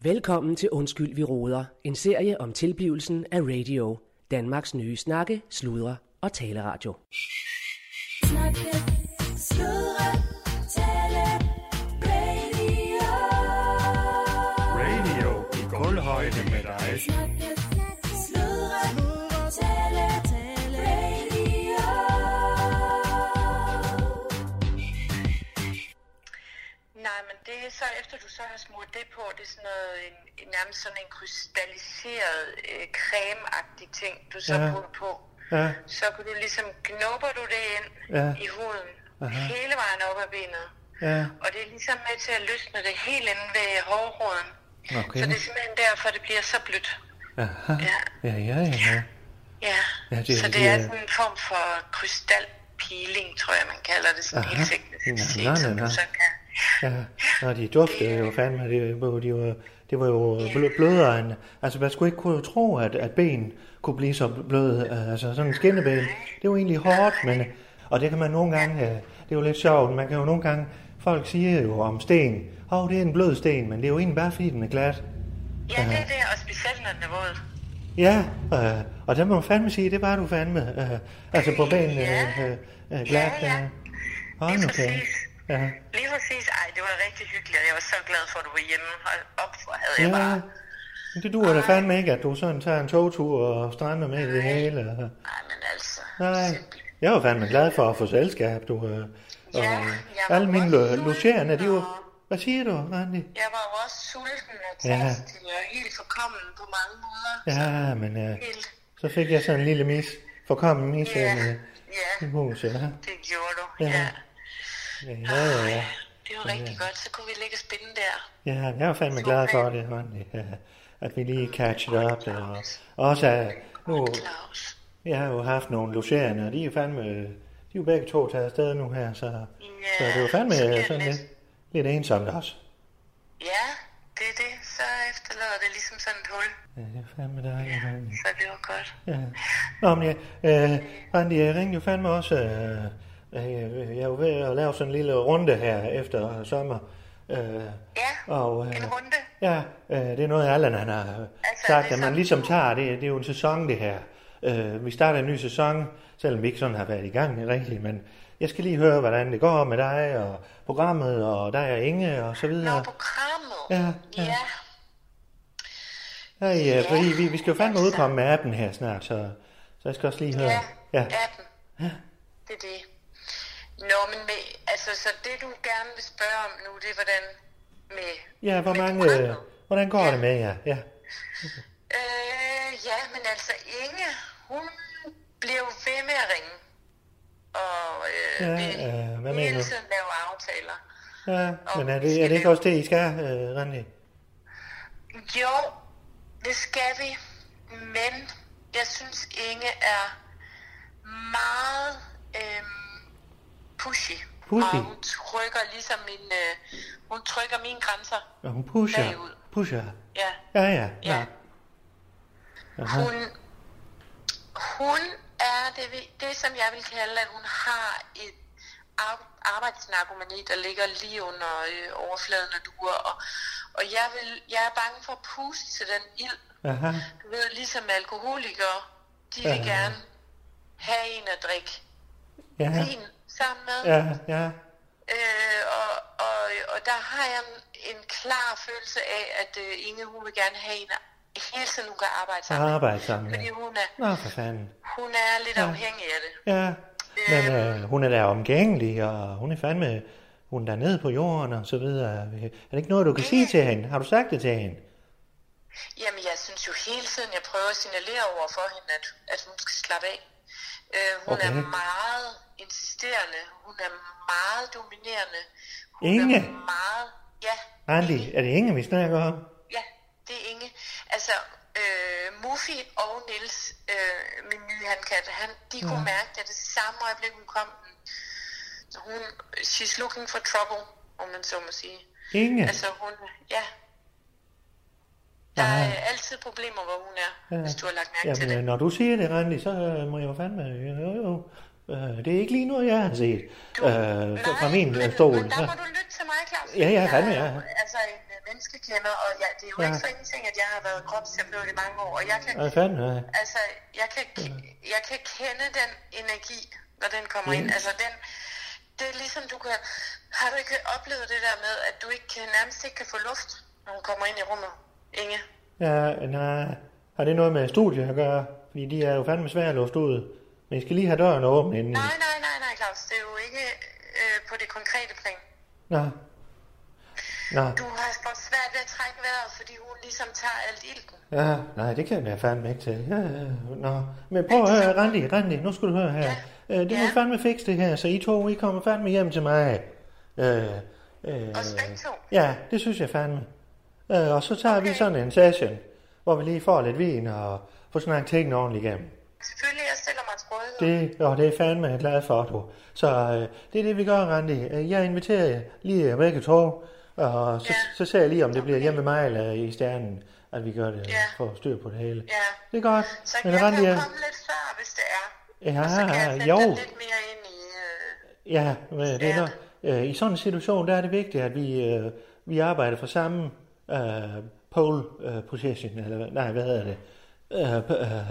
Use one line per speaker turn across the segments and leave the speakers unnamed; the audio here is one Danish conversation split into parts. Velkommen til Undskyld, vi råder. En serie om tilblivelsen af radio. Danmarks nye snakke, sludre og taleradio.
Snakke, sludre, tale, radio.
Radio i gulvhøjde med dig.
Snakke, sludre, tale, radio.
Nej, men det er så efter du så har smurt det på, det er sådan noget, en, en- nærmest sådan en krystalliseret øh, cremeagtig ting, du så
Ja.
ja. putter på.
Ja,
Så kan du ligesom, knopper du det ind
Ja.
ja. i huden, Aha. hele vejen op ad benet.
ja.
Og det er ligesom med til at løsne det helt inde ved hårroden.
Okay.
Så det er simpelthen derfor, det bliver så blødt.
Aha.
Ja.
Ja, ja, ja.
Ja,
Ja, det er
så det
lige,
er
øh,
sådan en form for krystalpeeling, tror jeg, man kalder det. Sådan
Aha.
helt teknisk
Nå,
set,
nå,
som
nå,
du
nå.
så kan.
ja. Nå, de duftede jo fandme, det var de jo, det var jo blø- blødere end, altså man skulle ikke kunne tro, at, at ben kunne blive så bløde, altså sådan en skinneben, det var egentlig hårdt, men, og det kan man nogle gange, øh, det er jo lidt sjovt, man kan jo nogle gange, folk siger jo om sten, åh, oh, det er en blød sten, men det er jo egentlig bare fordi den er glat.
Ja, det er det, og specielt når den er våd.
Ja, øh, og der må man fandme sige, det var du fandme. Øh, altså på banen øh, øh, øh, glat.
Ja, ja.
Øh. Hold
Lige
nu kæft.
præcis.
Ja,
Lige præcis. Ej, det var rigtig hyggeligt, og jeg var så glad for, at du var hjemme. Hold op, hvor havde jeg bare...
ja. Men Det duer da fandme ikke, at du sådan tager en togtur og strander med i det hele. øh.
Nej, men altså...
Nej,
simpelthen.
jeg var fandme glad for at få selskab, du. Øh, og
jeg var
alle mine
også
lo- logerende, de
sulten,
var... Hvad siger du, Randi?
Jeg var jo også sulten og
Ja.
tørstig og helt forkommen på mange måder.
Ja, men øh,
Helt.
så fik jeg sådan en lille mis. Forkommen mis
Ja,
ja. øh,
ja,
i huset. Ja,
det gjorde du.
Ja.
Ja. ja.
ja, ja. ja.
Det var rigtig godt, så kunne vi ligge og spille der.
Ja, jeg er fandme glad for det, Ronny. Ja, at vi lige catched up. Og også, at nu,
Claus.
jeg har jo haft nogle logerende, og de er fandme, de er jo begge to taget afsted nu her, så, så det er jo fandme
så bliver det
sådan
lidt-
lidt, lidt ensomt også.
Ja, det er det. Så efterlader det ligesom sådan et hul.
Ja, det er fandme dejligt, Ronny.
Så det var godt.
Ja. Nå, men ja, øh, Randi, jeg ringede jo fandme også. Øh, øh, jeg er jo ved at lave sådan en lille runde her efter sommer. Øh,
Ja,
og, øh,
en runde.
Ja, øh, det er noget, Allan han har altså,
det
sagt,
er
at man
sådan-
ligesom tager det. Det er jo en sæson, det her. Øh, vi starter en ny sæson, selvom vi ikke sådan har været i gang med rigtigt, men jeg skal lige høre, hvordan det går med dig og programmet og dig og Inge og så
Nå,
videre.
programmet.
Ja, ja.
ja.
Ja, ja, fordi vi, vi skal jo fandme udkomme med appen her snart, så, så jeg skal også lige høre.
Ja, ja. 18. Det er det. Nå, men med, altså, så det du gerne vil spørge om nu, det er hvordan med...
Ja, hvor
med
mange, øh,
programmet?
hvordan går
Ja.
det med jer? Ja.
Øh, ja, men altså Inge, hun blev ved med at ringe. Og øh,
Ja,
vil
øh, hvad mener
hele
du?
tiden lave aftaler.
ja. Men er
vi
det, er
skal
det ikke
lave-
også det, I skal, øh, Randi?
Jo, det skal vi. Men jeg synes, Inge er meget øhm, pushy.
Pushy?
Og hun trykker ligesom min, øh, hun trykker mine grænser.
Nå, hun pusher.
Bagud.
Pusher.
Ja.
Ja, ja. ja.
Ja.
Aha.
Hun, hun er det, vi- det, som jeg vil kalde, at hun har et ar- arbejdsnarkomani, der ligger lige under øh, overfladen og duer. Og, og jeg, vil, jeg er bange for at puste til den ild,
Aha.
Du ved, ligesom alkoholikere, de
Ja.
vil gerne have en at drikke
Ja,
vin sammen med.
ja, ja.
Øh, og, og, og der har jeg en, en klar følelse af, at øh, Inge, hun vil gerne have en, hele tiden hun kan arbejde sammen med.
Arbejde sammen.
Fordi
Ja.
hun er,
Nå, for fanden.
hun er lidt
Ja.
afhængig af det.
Ja. Men øh, hun er da omgængelig, og hun er fandme... Hun er dernede på jorden og så videre. Er det ikke noget, du kan sige til hende? Har du sagt det til hende?
Jamen, jeg synes jo hele tiden, jeg prøver at signalere over for hende, at, at hun skal slappe af. Øh, hun okay. er
Okay.
meget insisterende. Hun er meget dominerende. Hun
Inge?
er meget... Ja,
Randi, er det ingen, vi snakker om?
Ja, det er Inge. Altså, øh, Muffy og Nils, øh, min nye handkat, han, de ja. kunne mærke, at det samme øjeblik, hun kom, hun, she's looking for trouble, om man så må sige.
Inge?
Altså, hun, ja. Der er øh, altid problemer, hvor hun er, ja. hvis du har lagt mærke til
Jamen, øh,
det.
når du siger det, Randi, så øh, må jeg jo fandme... Jo, jo. Øh, det er ikke lige noget, jeg har set øh, fra min øh,
men,
stol.
Men der
Så-
må du lytte til mig, Claus.
Ja, ja, fandme,
Jeg er
ja.
jo, Altså, en øh,
menneskekender, og jeg, det er jo
Ja.
ja. ikke for ingenting, at jeg har været kropsterapeut i mange år, og jeg kan,
Ja, fandme, ja.
altså, jeg kan, jeg kan kende den energi, når den kommer ind. Altså, den, det er ligesom, du kan, har du ikke oplevet det der med, at du ikke kan, nærmest ikke kan få luft, når hun kommer ind i rummet? Inge?
Ja, nej. Har det noget med studiet at gøre? Fordi de er jo fandme svære at lufte ud. Men I skal lige have døren åben inden.
Nej, nej, nej, nej, Claus, det er jo ikke øh, på det konkrete plan.
Nå. Nå.
Du har fået svært ved at trække vejret, fordi hun ligesom tager alt ilten.
Ja, nej, det kan jeg fandme ikke til. Ja, ja, nå. Men prøv at høre, Randi, Randi, nu skal du høre her. Øh, det må
Ja.
I fandme fikse det her, så I to, I kommer fandme hjem til mig. Øh, øh,
Os begge to.
ja, det synes jeg fandme. Øh, og så tager vi sådan en session, hvor vi lige får lidt vin og får snakket tingene ordentligt igennem.
Selvfølgelig, jeg stiller mig til rådighed.
Det, og det er fandme jeg er glad for, du. Så øh, det er det, vi gør, Randi. Øh, Jeg inviterer jer lige jer begge to, og så,
Ja.
så ser jeg lige, om det bliver hjemme med mig eller i stjernen, at vi gør det,
Ja.
får styr på det hele.
Ja.
Det er godt.
Så jeg
Men
kan
Randi,
jo
er-
komme lidt før, hvis det er.
Ja,
og så kan jeg sætte
jo.
dig lidt mere ind i... Øh,
ja, men det er
Ja.
nok, øh, i sådan en situation, der er det vigtigt, at vi, øh, vi arbejder for samme øh, pole øh, position, eller hvad- nej, hvad hedder det? Øh, p- øh,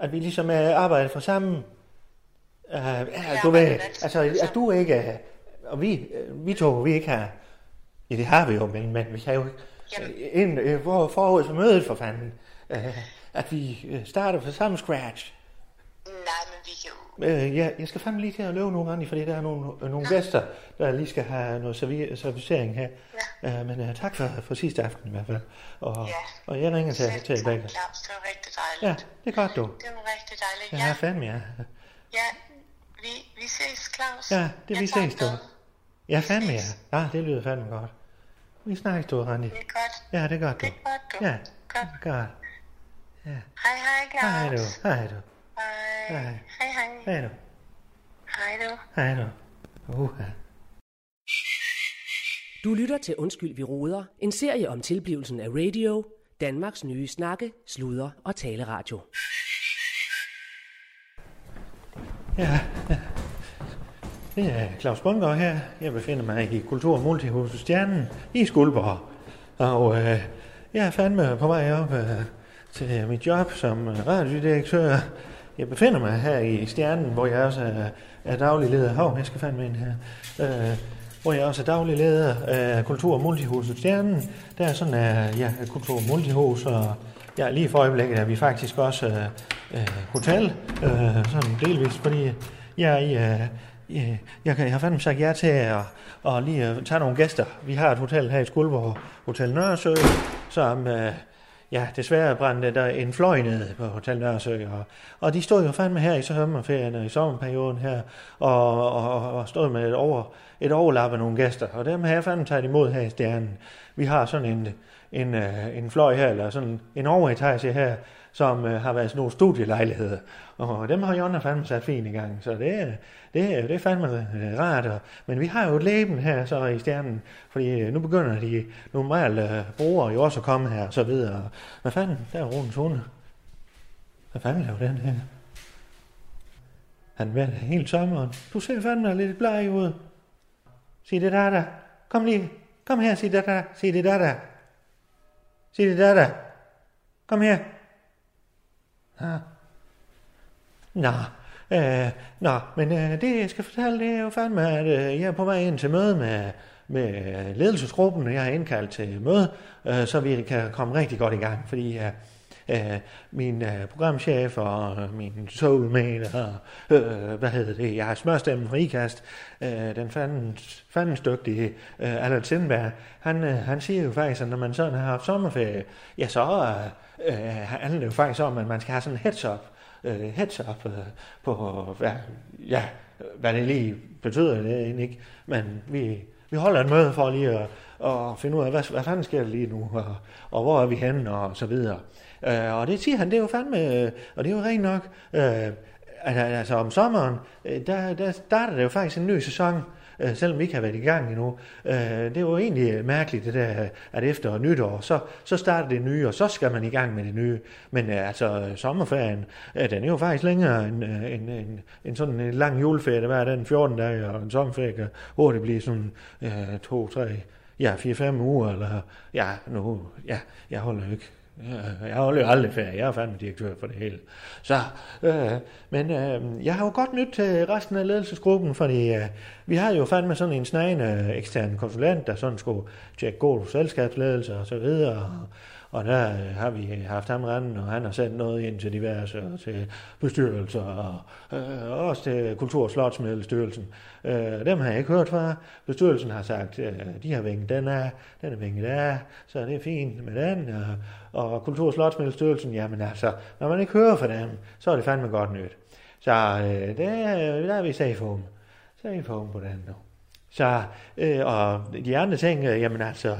at vi ligesom øh, arbejder for samme... Øh, ja, du ved,
arbejder altid
altså,
for
at
samme.
du ikke er... Og vi, øh, vi to, vi ikke har... Ja, det har vi jo, men, men vi har jo
Jamen.
ikke... Ind, øh, for, forud for mødet, for fanden. Øh, at vi øh, starter fra samme scratch.
nej, men vi kan jo...
Øh, ja, jeg skal fandme lige til at løbe nogle gange, fordi der er nogle, øh, nogle gæster, der lige skal have noget servi- servicering her. Ja. Øh, men øh, tak for, for sidste aften i hvert fald. Og,
Ja.
og jeg ringer til,
Selv
til
tak,
Rebecca.
Claus, det var rigtig
Ja,
dejligt.
det er godt, du.
Det var rigtig dejligt.
Ja,
Ja,
fandme, ja.
ja. Vi, vi ses, Claus.
Ja, det
Jeg
vi
tager
ses, du.
med.
Ja, fandme, ja. Ja, det lyder fandme godt. Vi snakkes, du, Randi.
Det er godt.
Ja, det er godt, du.
Det er godt, du.
Ja,
Godt.
godt.
Hej, hej, Claus.
Hej, du. Hej, du.
Hej. Hej, hej.
Hej, du.
Hej, du.
Hej, du. Uh,
Du lytter til Undskyld, vi roder, en serie om tilblivelsen af radio, Danmarks nye snakke, sludre og taleradio.
Ja, ja. det er Claus Bundgaard her. Jeg befinder mig i Kultur- og Multihuset Stjernen i Skuldborg. Og øh, jeg er fandme på vej op øh, til mit job som øh, radiodirektør. Jeg befinder mig her i Stjernen, hvor jeg også er, er daglig leder. Hov, jeg skal fandme ind her. Øh, hvor jeg også er daglig leder af Kultur- og Multihuset Stjernen. Der er sådan, at jeg er Kultur- og Multihus, og Ja, lige for øjeblikket er vi faktisk også øh, øh, hotel, øh, sådan delvist, fordi jeg, øh, jeg, jeg, kan- jeg har fandme sagt ja til at, at lige øh, tage nogle gæster. Vi har et hotel her i Skuldborg, Hotel Nørresø, som øh, ja, desværre brændte der en fløj ned på Hotel Nørresø. Og, og de stod jo fandme her i sommerferien og i sommerperioden her, og, og, og stod med et, over, et overlap af nogle gæster. Og dem har jeg fandme taget imod her i Stjernen. Vi har sådan en en, øh, en fløj her, eller sådan en overetage her, som øh, har været sådan nogle studielejligheder. Og dem har Jonna fandme sat fint i gang, så det, er- det, er- det er fandme øh, rart. Og, men vi har jo et leben her så i stjernen, fordi øh, nu begynder de normale øh, brugere jo også at komme her og så videre. Hvad fanden? Der er Rune Tone. Hvad fanden laver den her? Han har været her hele sommeren. Du ser fandme lidt bleg ud. Sig det der, der. Kom lige. Kom her, sig det der. Sig det der, der. Sig det der, der. Kom her. Ja. Nå, øh, nå, men øh, det jeg skal fortælle, det er jo fandme, at øh, jeg er på vej ind til møde med, med øh, ledelsesgruppen, og jeg har indkaldt til møde, øh, så vi kan komme rigtig godt i gang, fordi øh, øh, min øh, programchef og øh, min soulmate og, øh, hvad hedder det, jeg har smørstemmen fra IKAST, øh, den fandens, fandens dygtige øh, Allan Sindberg, han, øh, han siger jo faktisk, at når man sådan har haft sommerferie, ja, så øh, øh, handler det jo faktisk om, at man skal have sådan en heads-up, øh, heads up øh, på, hvad, ja, hvad det lige betyder, det er egentlig ikke. Men vi, vi holder et møde for lige at, at finde ud af, hvad, hvad fanden sker der lige nu, og, og hvor er vi henne, og så videre. Øh, og det siger han, det er jo fandme, øh, og det er jo rent nok, øh, altså, altså om sommeren, øh, der, der starter det jo faktisk en ny sæson, øh, selvom vi ikke har været i gang endnu. Øh, det er jo egentlig øh, mærkeligt, det der, at efter nytår, så, så starter det nye, og så skal man i gang med det nye. Men øh, altså, øh, sommerferien, øh, den er jo faktisk længere end, øh, end, end, end sådan en lang juleferie, der var den 14 dage, og en sommerferie kan hurtigt blive sådan øh, to, tre, ja, 4-5 uger, eller ja, nu, ja, jeg holder jo ikke Ja, Jeg holder jo aldrig ferie. Jeg er fandme direktør for det hele. Så, øh, men øh, jeg har jo godt nyt til resten af ledelsesgruppen, fordi øh, vi har jo fandme sådan en snagende ekstern konsulent, der sådan skulle tjekke god selskabsledelse og så videre. Og, og der øh, har vi haft ham randen, og han har sendt noget ind til diverse, og til bestyrelser, og øh, også til Kultur- og Slotsmiddelstyrelsen. Øh, dem har jeg ikke hørt fra. Bestyrelsen har sagt, øh, de har vinket den af, den er vinket af, så det er fint med den. Og, og Kultur- og Slotsmiddelstyrelsen, jamen altså, når man ikke hører fra dem, så er det fandme godt nyt. Så øh, det, er- der er vi safe home. Safe home på den nu. Så, øh, og de andre ting, øh, jamen altså,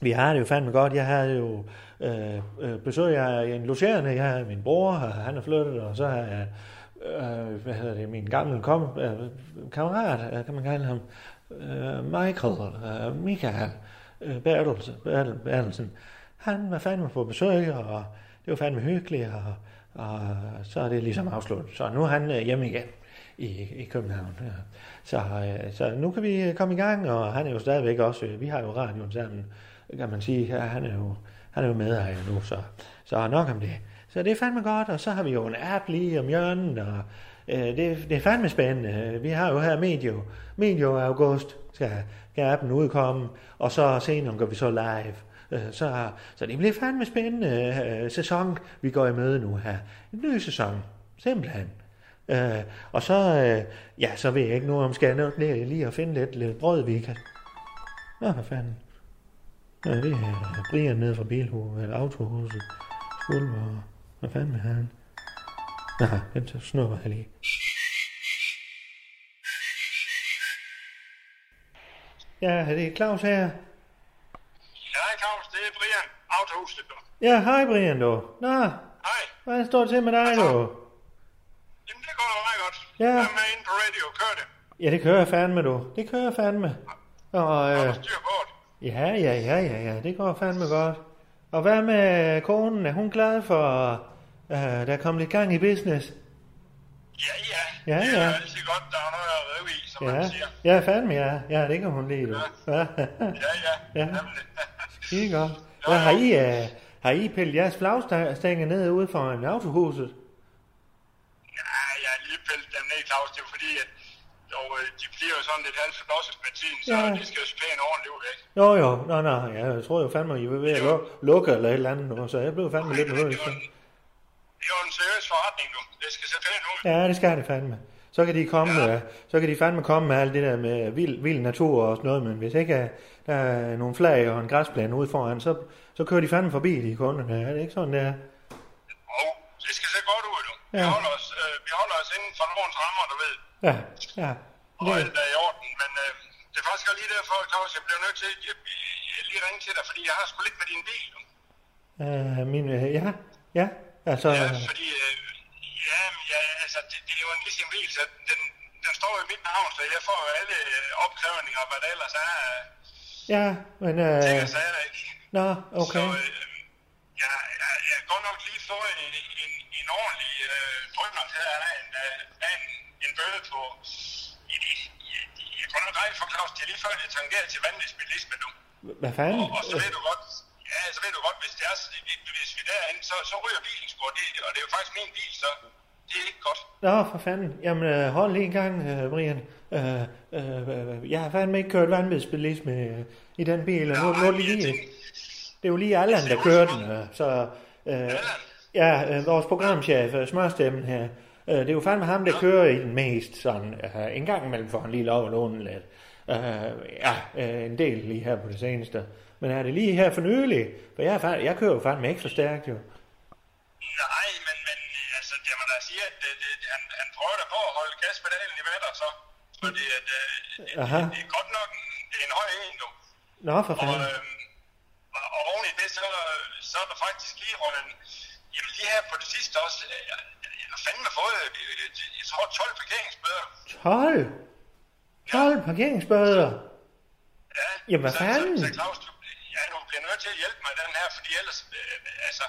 vi har det jo fandme godt. Jeg havde jo øh, øh, besøg af en logerende. Jeg havde min bror, og han er flyttet, og så har jeg øh, hvad hedder det, min gamle kom, øh, kammerat, øh, kan man kalde ham, øh, Michael, øh, Michael øh, Bertelsen, Bertel, Bertelsen. Han var fandme på besøg, og det var fandme hyggeligt, og, og så er det ligesom afsluttet. Så nu er han øh, hjemme igen i, i København. Ja. Så, øh, så nu kan vi øh, komme i gang, og han er jo stadigvæk også, øh, vi har jo radioen sammen, kan man sige, ja, han er jo, han er jo med her nu, så, så nok om det. Så det er fandme godt, og så har vi jo en app lige om hjørnet, og øh, det, det er fandme spændende. Vi har jo her medio, medio af august skal, skal appen udkomme, og så senere går vi så live. Øh, Så, så det bliver fandme spændende øh, sæson, vi går i møde nu her. En ny sæson, simpelthen. Øh, og så, øh, ja, så ved jeg ikke nu, om skal jeg nå lige, lige at finde lidt, lidt brød, vi kan... Nå, hvad fanden. Nå, det er Brian nede fra bilhuset, eller autohuset. Skulver, hvad fanden med han? Nå, den så snupper jeg lige. Ja, det er Claus her.
Ja, Claus, det er Brian, autohuset.
Ja, hej Brian, du. Nå,
Hej.
hvad står det til med dig, du?
Jamen, det går da meget godt.
Ja.
Jeg er med inde på radio. Kør det.
Ja, det kører fandme, du. Det kører fandme. Og,
Ja.
øh,
styr på det.
Ja, ja, ja, ja, ja, det går fandme godt. Og hvad med konen? Er hun glad for, øh, der er kommet lidt gang i business?
Ja, ja.
Ja,
Det er
ja.
jo altid godt, der er noget at rive i, som
Ja,
man siger.
ja, fandme, ja. Ja, det kan hun lide, du. Ja,
Ja, ja.
Ja.
Nemlig.
det er godt. Hvad har I, øh, har I pillet jeres flagstænger ned ude foran autohuset?
ja, jeg har lige pillet dem ned, Claus. Det er fordi, at og, øh, de bliver jo sådan lidt halvt fornosset med tiden, så
Ja.
de skal jo spæne ordentligt ud væk.
Jo, jo, nå, nå, ja, jeg tror jo fandme, I var ved at lu- lukke eller et eller andet nu, så jeg blev fandme lidt nervøs.
Det er jo en seriøs forretning nu. Det skal se pænt ud.
Ja, det skal det fandme. Så kan de komme, ja. så kan de fandme komme med alt det der med vild, vild natur og sådan noget, men hvis ikke øh, der er nogle flag og en græsplæne ude foran, så, så kører de fandme forbi de kunderne. Er det ikke sådan, det er?
Og det skal se godt ud nu. Vi,
Ja.
holder os, øh, vi holder os inden for lovens rammer, du ved.
Ja, ja.
Og alt er i orden, men øh, det er faktisk også lige derfor, Claus, jeg bliver nødt til at lige ringe til dig, fordi jeg har sgu lidt med din bil.
Det, øh, min, øh, ja, ja, altså,
Ja,
øh,
fordi, øh, ja, men ja, altså, det, det, er jo en leasing bil, så den, den står jo i mit navn, så jeg får jo alle øh, opkrævninger og hvad der ellers er. øh,
ja, men,
Ting
øh,
og sager, ikke?
nå,
Så
okay.
øh, jeg, jeg, jeg har godt nok lige fået en, en, en ordentlig øh, drønner til af en, øh, af en, en bøde på... I, i, i, i, jeg er godt nok ret for Claus, det er lige før, det tangerer til vanvidsbilisme nu.
Hvad fanden?
øh, Og, og så ved du godt, ja, så ved du godt, hvis det er, så- hvis vi er derinde, så, så ryger bilen sgu, og det, og det er jo faktisk min bil, så det er ikke godt.
Nå, for fanden. Jamen, øh, hold lige en gang, øh, Brian. Øh, øh, øh, jeg har fandme ikke kørt vanvidsbilisme øh, i den bil, og nu, nu er det lige...
jeg
Øh, Det er jo lige Allan, der kører den. øh, Så, øh, ja, øh, vores programchef, øh, Smørstemmen her, øh, det er jo fandme ham, der kører i den mest sådan, øh, en gang imellem får han lige lov at låne lidt. Øh, ja, øh, en del lige her på det seneste. Men er det lige her for nylig? For jeg, er fandme, jeg kører jo fandme ikke så stærkt, jo.
Nej, men, men altså, det må da sige, at det, det, han, han prøver da på at holde gaspedalen i vatter, så. Fordi at, øh, det,
Aha.
det, er godt nok en, det er en høj en, du.
Nå, for
Og,
fanden.
øhm, og- og oven i det, så, så er der faktisk lige rundt en, jamen lige her på det sidste også, øh, jeg, jeg har fandme fået, øh, jeg tror 12 parkeringsbøder.
12! 12 parkeringsbøder!
Ja,
Jamen, hvad
så-
fanden?
Så, så Claus, du, ja, du bliver nødt til at hjælpe mig i den her, fordi ellers, øh, altså,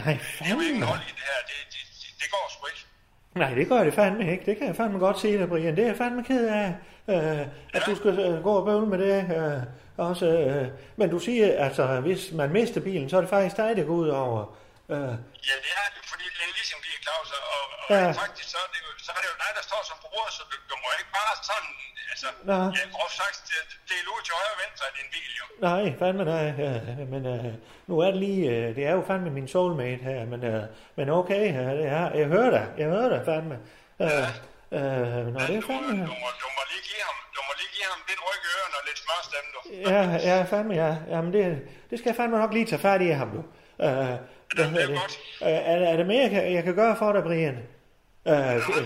Nej,
jeg vil ikke
fanden!
holde i det her, det, det, det, det går sgu ikke.
Nej, det gør det fandme ikke. Det kan jeg fandme godt se dig, Brian. Det er jeg fandme ked af, øh, at du skal øh, gå og bøvle med det. Øh, også, øh, men du siger, altså, hvis man mister bilen, så er det faktisk dig, der går ud over. Øh,
Ja, det er det, fordi det er ligesom din Claus, og, og
Ja.
ja. faktisk så er, det jo, så er det jo dig, der står som bruger, så du, du må ikke bare sådan, altså,
Ja.
ja. ja groft sagt, det- dele ud til højre og venstre af din bil, jo.
Nej, fandme nej. øh, Men øh, nu er det lige, øh, det er jo fandme min soulmate her, men, øh, men okay, øh, det er, jeg hører dig, jeg hører dig fandme. Øh, øh, nå, det er
Du, må-
fandme,
du, må, du, må lige give ham, du må lige give ham lidt ryg i ørerne og lidt smørstemme, du.
ja, ja, fandme, ja, jamen det, det skal jeg fandme nok lige tage fat i ham nu. Øh, hvad hedder det? Øh, er, er der mere, jeg kan, jeg kan gøre for dig, Brian? Øh,
Nå,
øh,
Den, den, den,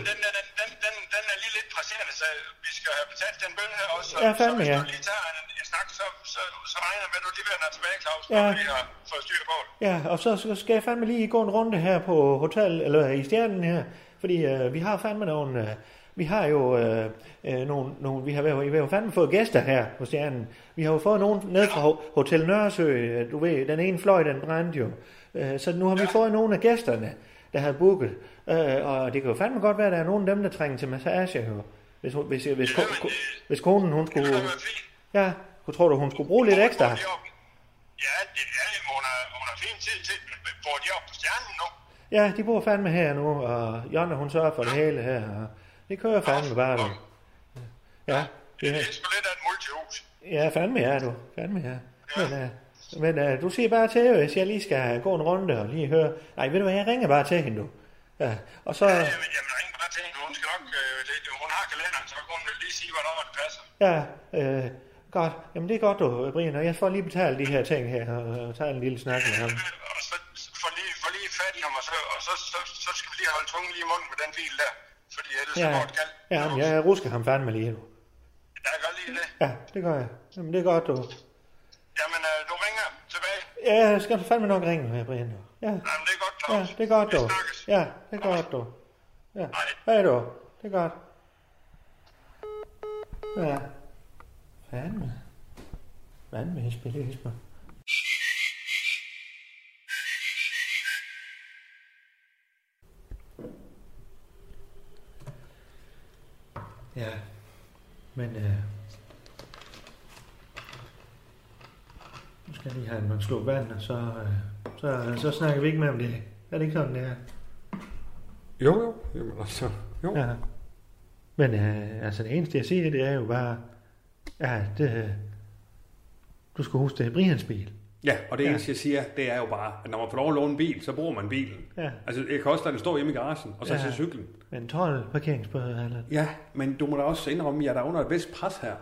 den, den, den er lige lidt presserende, så vi skal have betalt den bøn her også. Så,
Ja, fandme,
så hvis
ja.
du lige tager en, en snak, så, så, så regner jeg med, at du lige vil have tilbage, Claus,
Ja.
når vi har fået styr på det.
Ja, og så så skal jeg fandme lige gå en runde her på hotel, eller i stjernen her, fordi øh, vi har fandme nogle, øh, vi har jo øh, øh, nogle, nogle vi, har, vi har jo fandme fået gæster her på stjernen. Vi har jo fået nogen ned fra ho- Hotel Nørresø, øh, du ved, den ene fløj, den brændte jo. Øh, så nu har vi fået nogle af gæsterne, der har booket, øh, og det kan jo fandme godt være, at der er nogen af dem, der trænger til massage her. Hvis, hun- hvis, hvis, ko, ko, hvis konen, hun
Det
skulle,
kan være fint.
ja, tror du, hun skulle bruge lidt ekstra?
Ja, det er det. Hun har, hun har fin tid til. Bor de op på stjernen nu?
Ja, de bor fandme her nu, og Jonna hun sørger for det hele her, og det kører fandme bare du. Ja,
Det
ja,
er sgu lidt af et multihus.
ja fandme ja du, fandme ja. Men, uh, men uh, du siger bare til, hvis jeg lige skal gå en runde og lige høre. Nej, ved du hvad, jeg ringer bare til hende du. Ja, og så,
Ja, men Øh, jamen, ring bare til hende. Hun skal nok... Øh, det, hun har kalenderen, så kan hun lige sige, hvornår det passer.
ja, øh, godt. Jamen det er godt du, Brian, og jeg får lige betalt de her ting her, og, og tager en lille snak med ham.
Øh, Og så får lige, får lige fat i ham, og, så, og så, så, så skal vi lige holde tungen lige i munden med den bil der. Fordi ellers så
Ja,
går det galt.
ja men jeg rusker ham fandme lige nu.
Jeg kan godt lide det.
Ja, det gør jeg. Jamen det er godt du.
Jamen, øh, du ringer tilbage.
Ja, jeg skal fandme nok ringe med Brian du. Ja.
Jamen, det er godt,
Ja,
Claus.
det er godt,
Vi
dog.
snakkes.
Ja, det er godt, dog. Ja.
Hej.
Hej, dog. Det er godt. Ja. Fanden. Fanden med spillehismer. Ja, men øh, nu skal vi have en slå vand, og så, øh, så, så snakker vi ikke mere om det. Er det ikke sådan, det er?
Jo, jo. Jamen, altså, jo. Ja.
Ja. Men øh, altså det eneste, jeg siger, det er jo bare, ja, det, øh, du skal huske, det er Brians bil.
ja, og det
Ja.
eneste, jeg siger, det er jo bare, at når man får lov at låne en bil, så bruger man bilen.
Ja.
Altså, jeg kan også lade den stå hjemme i garagen, og så
Ja.
ja. tage cyklen.
Men 12 parkeringsbøder eller...
Ja, men du må da også indrømme, at jeg er da under et vist pres her.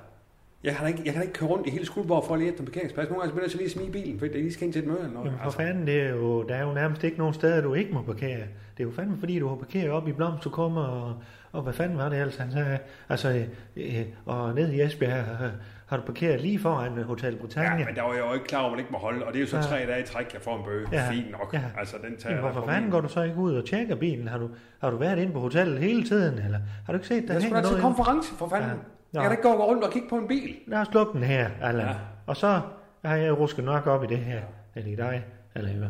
Jeg kan, da ikke, jeg kan da ikke køre rundt i hele Skuldborg for at lige efter en parkeringsplads. Nogle gange så bliver jeg så lige at smide bilen, fordi jeg lige skal ind til et møde eller noget. Altså,
Jamen for fanden, det er jo, der er jo nærmest ikke nogen steder, du ikke må parkere. Det er jo fandme fordi, du har parkeret op i Blomsterkummer, og, og hvad fanden var det ellers, han sagde? Altså, øh, øh, og ned i Esbjerg øh, har du parkeret lige foran øh, Hotel Britannia.
Ja, men der var jeg jo ikke klar over, at man ikke må holde, og det er jo så
Ja.
tre dage i træk, jeg får en bøge.
Ja.
Ja. Fint nok.
Ja.
Ja. Altså, den tager jeg
Jamen,
da
hvorfor
på
fanden
min-
går du så ikke ud og tjekker bilen? Har du, har du været inde på hotellet hele tiden, eller har du ikke set, der
Jeg skulle
hænger
da til
noget? inde?
konference, for fanden.
Ja.
Ja.
Nå.
Jeg kan da ikke gå rundt og kigge på en bil.
Lad os lukke den her, Allan. Ja.
Ja.
Og så har jeg rusket nok op i det her. Eller i dig, eller i hvad.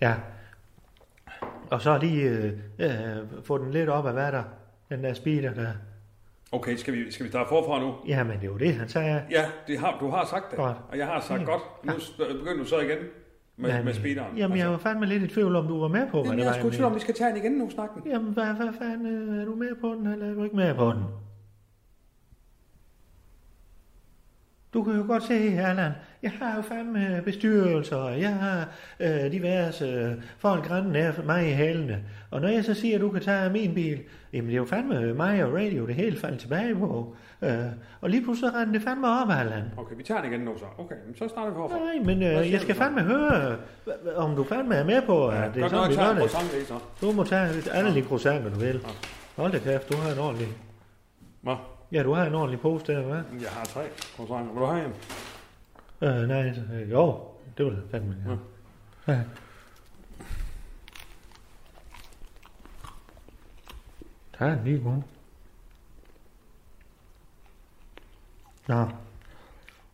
Ja. Og så lige øh, øh, få den lidt op af hvad der, den der speeder der.
Okay, skal vi, skal vi starte forfra nu?
Jamen, det er jo det, han sagde.
Ja, det har, du har sagt det,
Godt. Mm.
og jeg har sagt
Ja.
godt. Nu st- begynder du så igen med,
Jamen,
med speederen. Altså,
Jamen, jeg var fandme lidt i tvivl om, du var med på, hvad
Jamen,
det
jeg
var.
er sgu i tvivl om, vi skal tage den igen nu, snakken.
mente. Jamen, hvad, hvad fanden, øh, er du med på den, eller er du ikke med på den? Du kan jo godt se, Erland, jeg har jo fandme bestyrelser, og jeg har øh, diverse øh, folk rende af mig i hælene. Og når jeg så siger, at du kan tage min bil, jamen det er jo fandme øh, mig og radio, det hele falder tilbage på. Øh, og lige pludselig render det fandme op, Erland.
Okay, vi tager den igen nu så. Okay, men så starter vi forfra.
Nej, men
Hvad
øh,
siger
jeg
du
skal
så?
fandme høre, hva- hva- om du fandme er med på, at det er
Godt nok,
sådan, vi
så
gør
er det
det.
samme så.
Du må tage et andet croissant, når du vil. Hold da kæft, du har en ordentlig...
Nå,
Ja, du har en ordentlig pose der, hva'?
jeg har tre croissanter. Vil du have en?
Øh, nej, så- øh, jo, det vil jeg fandme gerne. Ja. Der er en lige god. Nå.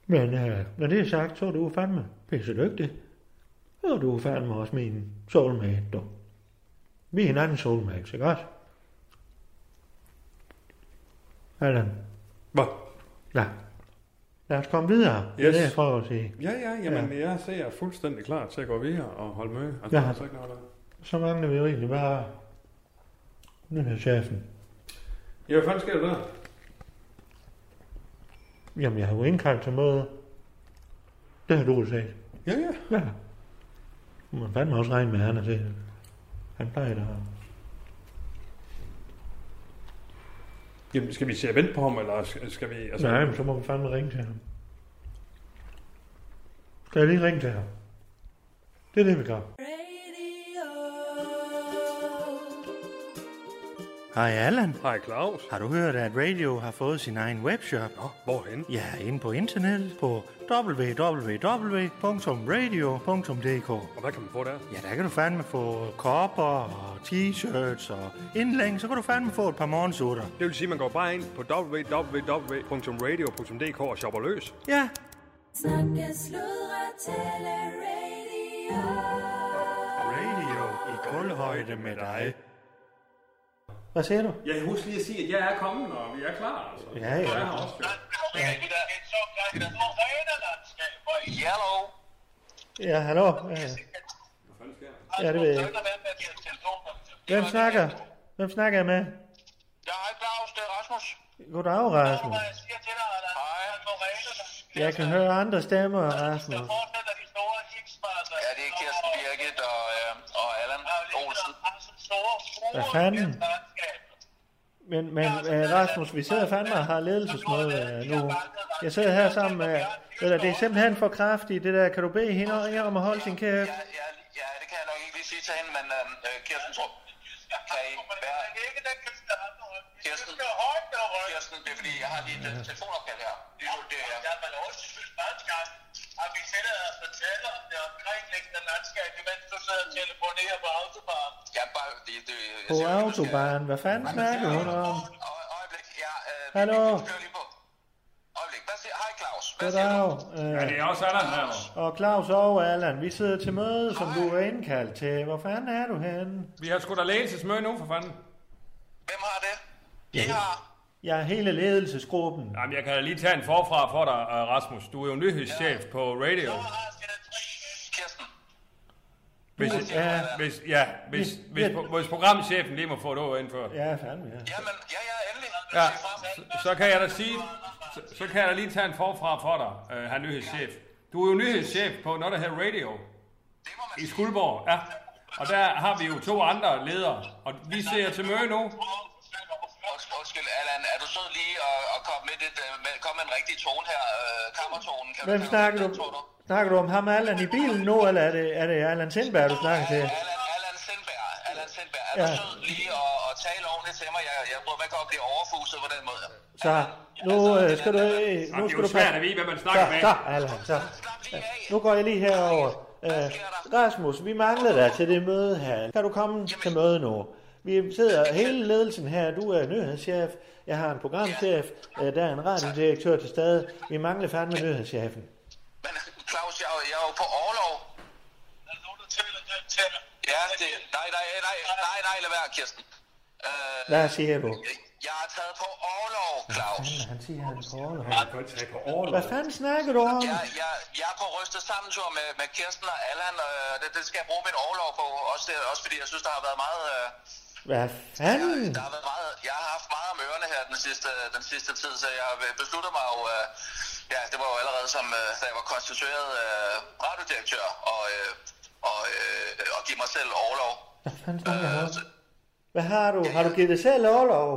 Men øh, når det er sagt, så er du fandme pisse dygtig. Og du er fandme også min soulmate, du. Vi er hinanden soulmates, ikke også? Allan.
Hvad?
Ja. Lad os komme videre. Det er
Yes.
det, jeg prøver at sige.
Ja, ja, jamen, ja. jeg ser fuldstændig klar til at gå videre og holde med. Altså,
Ja.
der er så ikke noget der.
Så mangler vi jo egentlig bare nyhedschefen.
Ja, hvad fanden sker der der?
Jamen, jeg har jo indkaldt til møde. Det har du jo set.
Ja, ja.
Ja. Man fandme også regne med, at han er set. Han plejer da.
Jamen, skal vi se at vente på ham, eller skal skal vi... Altså,
Nej, men så må vi fandme ringe til ham. Skal jeg lige ringe til ham? Det er det, vi gør. Hej Allan.
Hej, Claus.
Har du hørt, at Radio har fået sin egen webshop?
Nå, hvorhen?
Ja, inde på internettet på www.radio.dk.
Og hvad kan man få der?
Ja, der kan du fandme få kopper og t-shirts og indlæng, så kan du fandme få et par morgensutter.
Det vil sige, at man går bare ind på www.radio.dk og shopper løs.
Ja,
Snakke, sludre, tale, radio.
radio i kulhøjde med dig. Hvad siger du?
Jeg husker lige at sige, at jeg er kommet, og vi er klar. Altså.
Ja, ja.
Og jeg har også jo.
Hello.
Ja, hallo. Ja, Ja, det ved jeg ikke. Hvem snakker? Hvem snakker jeg med?
Jeg er ikke Claus, det er Rasmus.
Goddag,
Hvad
Rasmus.
jeg siger til dig, eller? Hej.
Jeg kan høre andre stemmer,
Der
Rasmus.
fortsætter de store kicksparter. Ja, det er Kirsten Birgit og, øh, og Allan Olsen.
Hvad fanden? Men, men øh, Rasmus, vi sidder fandme og har ledelsesmøde øh, nu. Jeg sidder her sammen med... Ved du, det er simpelthen for kraftigt, det der. Kan du bede hende om at holde sin kæft?
Ja, ja, ja, det kan jeg nok ikke lige sige til hende, men øhm, øh, Kirsten, tror, kan I være... Kirsten, Kirsten, det er fordi, jeg har lige et telefonopkald her. Det er jo det, jeg... Ja, men også synes meget skarpt, at vi sætter og fortæller om det omkringliggende landskab, imens du sidder og telefonerer på autobahn. Ja, bare... Det, det, jeg
På autobahn. Hvad fanden snakker hun om?
Øjeblik, ja... Øh,
Øhm. Hallo?
vi kører lige på. Øjeblik, hvad siger... Hej, Claus. Hvad siger du?
Goddag. Øh,
er også Allan her.
og Claus og Allan, vi sidder til møde, som du er indkaldt til. Hvor fanden er du henne?
Vi har sgu da ledelsesmøde nu, for fanden.
Hvem har det? I har...
Jeg er hele ledelsesgruppen.
Jamen, jeg kan da lige tage en forfra for dig, øh, Rasmus. Du er jo nyhedschef ja. på radio.
Kirsten.
Hvis,
Ja,
hvis, ja, hvis,
Ja.
hvis, hvis, hvis programchefen lige må få et ord indfør. Ja.
ja fandme, ja.
Jamen, ja, ja, endelig.
Ja, så, så kan jeg da sige, så, så kan jeg da lige tage en forfra for dig, øh, herr nyhedschef. Du er jo nyhedschef på noget, der hedder
Det
radio
må man
i
sige.
Skuldborg. Ja. Og der har vi jo to andre ledere, og vi ser til møde nu.
Unds- Undskyld, Allan, er du sød lige at, at komme med, lidt, øh, med, komme med en rigtig tone her? Øh, kammertonen. Kan
Hvem
kan
snakker
den,
du?
tror
Snakker du om ham Allan i bilen nu, eller er det, er det Allan Sindberg, du snakker til?
Allan, Allan Sindberg, Allan Sindberg, er
Ja.
ja. du sød lige at, at tale ordentligt til mig? Jeg, jeg prøver ikke at blive overfuset på den måde.
Så nu øh, skal du... øh,
Og
Nu
det
skal
er jo
du
svært
passe...
at vide, hvad man
Så,
snakker med.
så, Allan, så.
Slap lige af.
Nu går jeg lige herover. Øh, Rasmus, vi mangler dig til det møde her. Kan du komme til møde nu? Vi sidder hele ledelsen her. Du er nyhedschef. Jeg har en programchef. Øh, der er en radiodirektør til stede. Vi mangler fandme nyhedschefen.
Men Claus, jeg, er jo- jeg er jo på overlov. Ja, det, nej, nej, nej, nej, nej, lad være, Kirsten. Øh,
Hvad siger du?
jeg er taget på overlov, Claus.
Fanden, Han siger, han er på overlov.
Jeg kan ikke tage på overlov.
Hvad fanden snakker du om?
Jeg, jeg, jeg er på rystet sammentur med, med Kirsten og Allan, og øh, det, det skal jeg bruge min overlov på, også, det, også fordi jeg synes, der har været meget... Øh,
Hvad
jeg,
fanden?
der har været meget jeg har haft meget om ørerne her den sidste, den sidste tid, så jeg har besluttet mig jo... Øh, ja, det var jo allerede som, øh, da jeg var konstitueret øh, radiodirektør, og, øh, og, øh, og give mig selv overlov.
Hvad fanden snakker du om?
så,
Hvad har du? Har du givet dig selv overlov?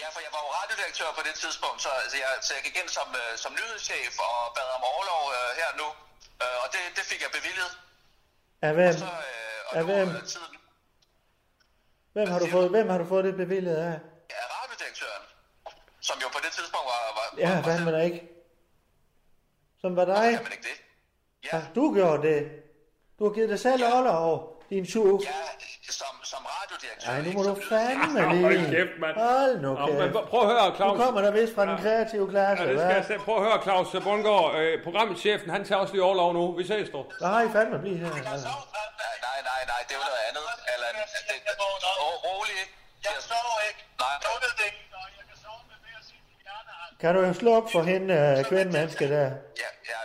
Ja, for jeg var jo radiodirektør på det tidspunkt, så, altså, jeg, så jeg gik ind som, øh, som nyhedschef og bad om overlov øh, her nu, øh, og det, det fik jeg bevilget.
Ja, hvem,
Så, øh, og
Ja,
nu
hvem?
er tiden
hvem, har du fået, hvem har du fået det bevilget af?
af radiodirektøren, som jo på det tidspunkt var... var
Ja,
var- var
fandme da ikke. Som var dig.
Kan man ikke det? Ja,
Har du gjort det? Du har givet dig selv overlov, din tjuv.
ja som, som radiodirektør.
Ej, nu
ikke
må du
som
fandme
Ah,
lige.
hold kæft, mand.
øh, Hold nu
Nå, men
kæft.
prøv at høre,
Du
Claus.
kommer der vist fra den
Ja.
kreative klasse,
Ja, det skal
hva'?
jeg selv. Prøv at høre, Claus Bundgaard. Øh, programchefen, han tager også lige overlov nu. Vi ses, du.
Nej, fandme blive her. altså.
nyhedschef. Nej, nej, nej, nej, det er jo noget andet. Eller, det, det, ro, rolig. Jeg sover ikke. Nej. Jeg ved det ikke. Jeg kan sove
Kan du slukke for hende, øh, kvindemenneske der?
Ja, ja,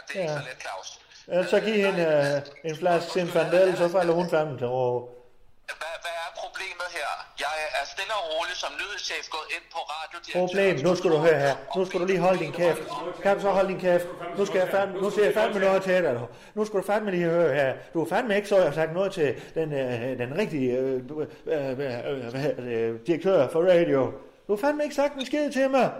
det er ja. ikke
Ja.
så let, Claus.
Ellers så giv hende øh, en flaske Zinfandel, så falder hun fanden til ro.
Hvad, hvad er problemet her? Jeg er stille og rolig som nyhedschef gået ind på radio.
Problem, nu skal du høre her. Nu skal du lige holde din kæft. Kan du så holde din kæft? Nu skal jeg fandme, nu siger jeg fandme noget til dig. du. Nu skal du fandme lige høre her. Du har fandme ikke så jeg har sagt noget til den, øh, den rigtige øh, øh, øh, hvad hedder det, øh, direktør for radio. Du har fandme ikke sagt en skid til mig.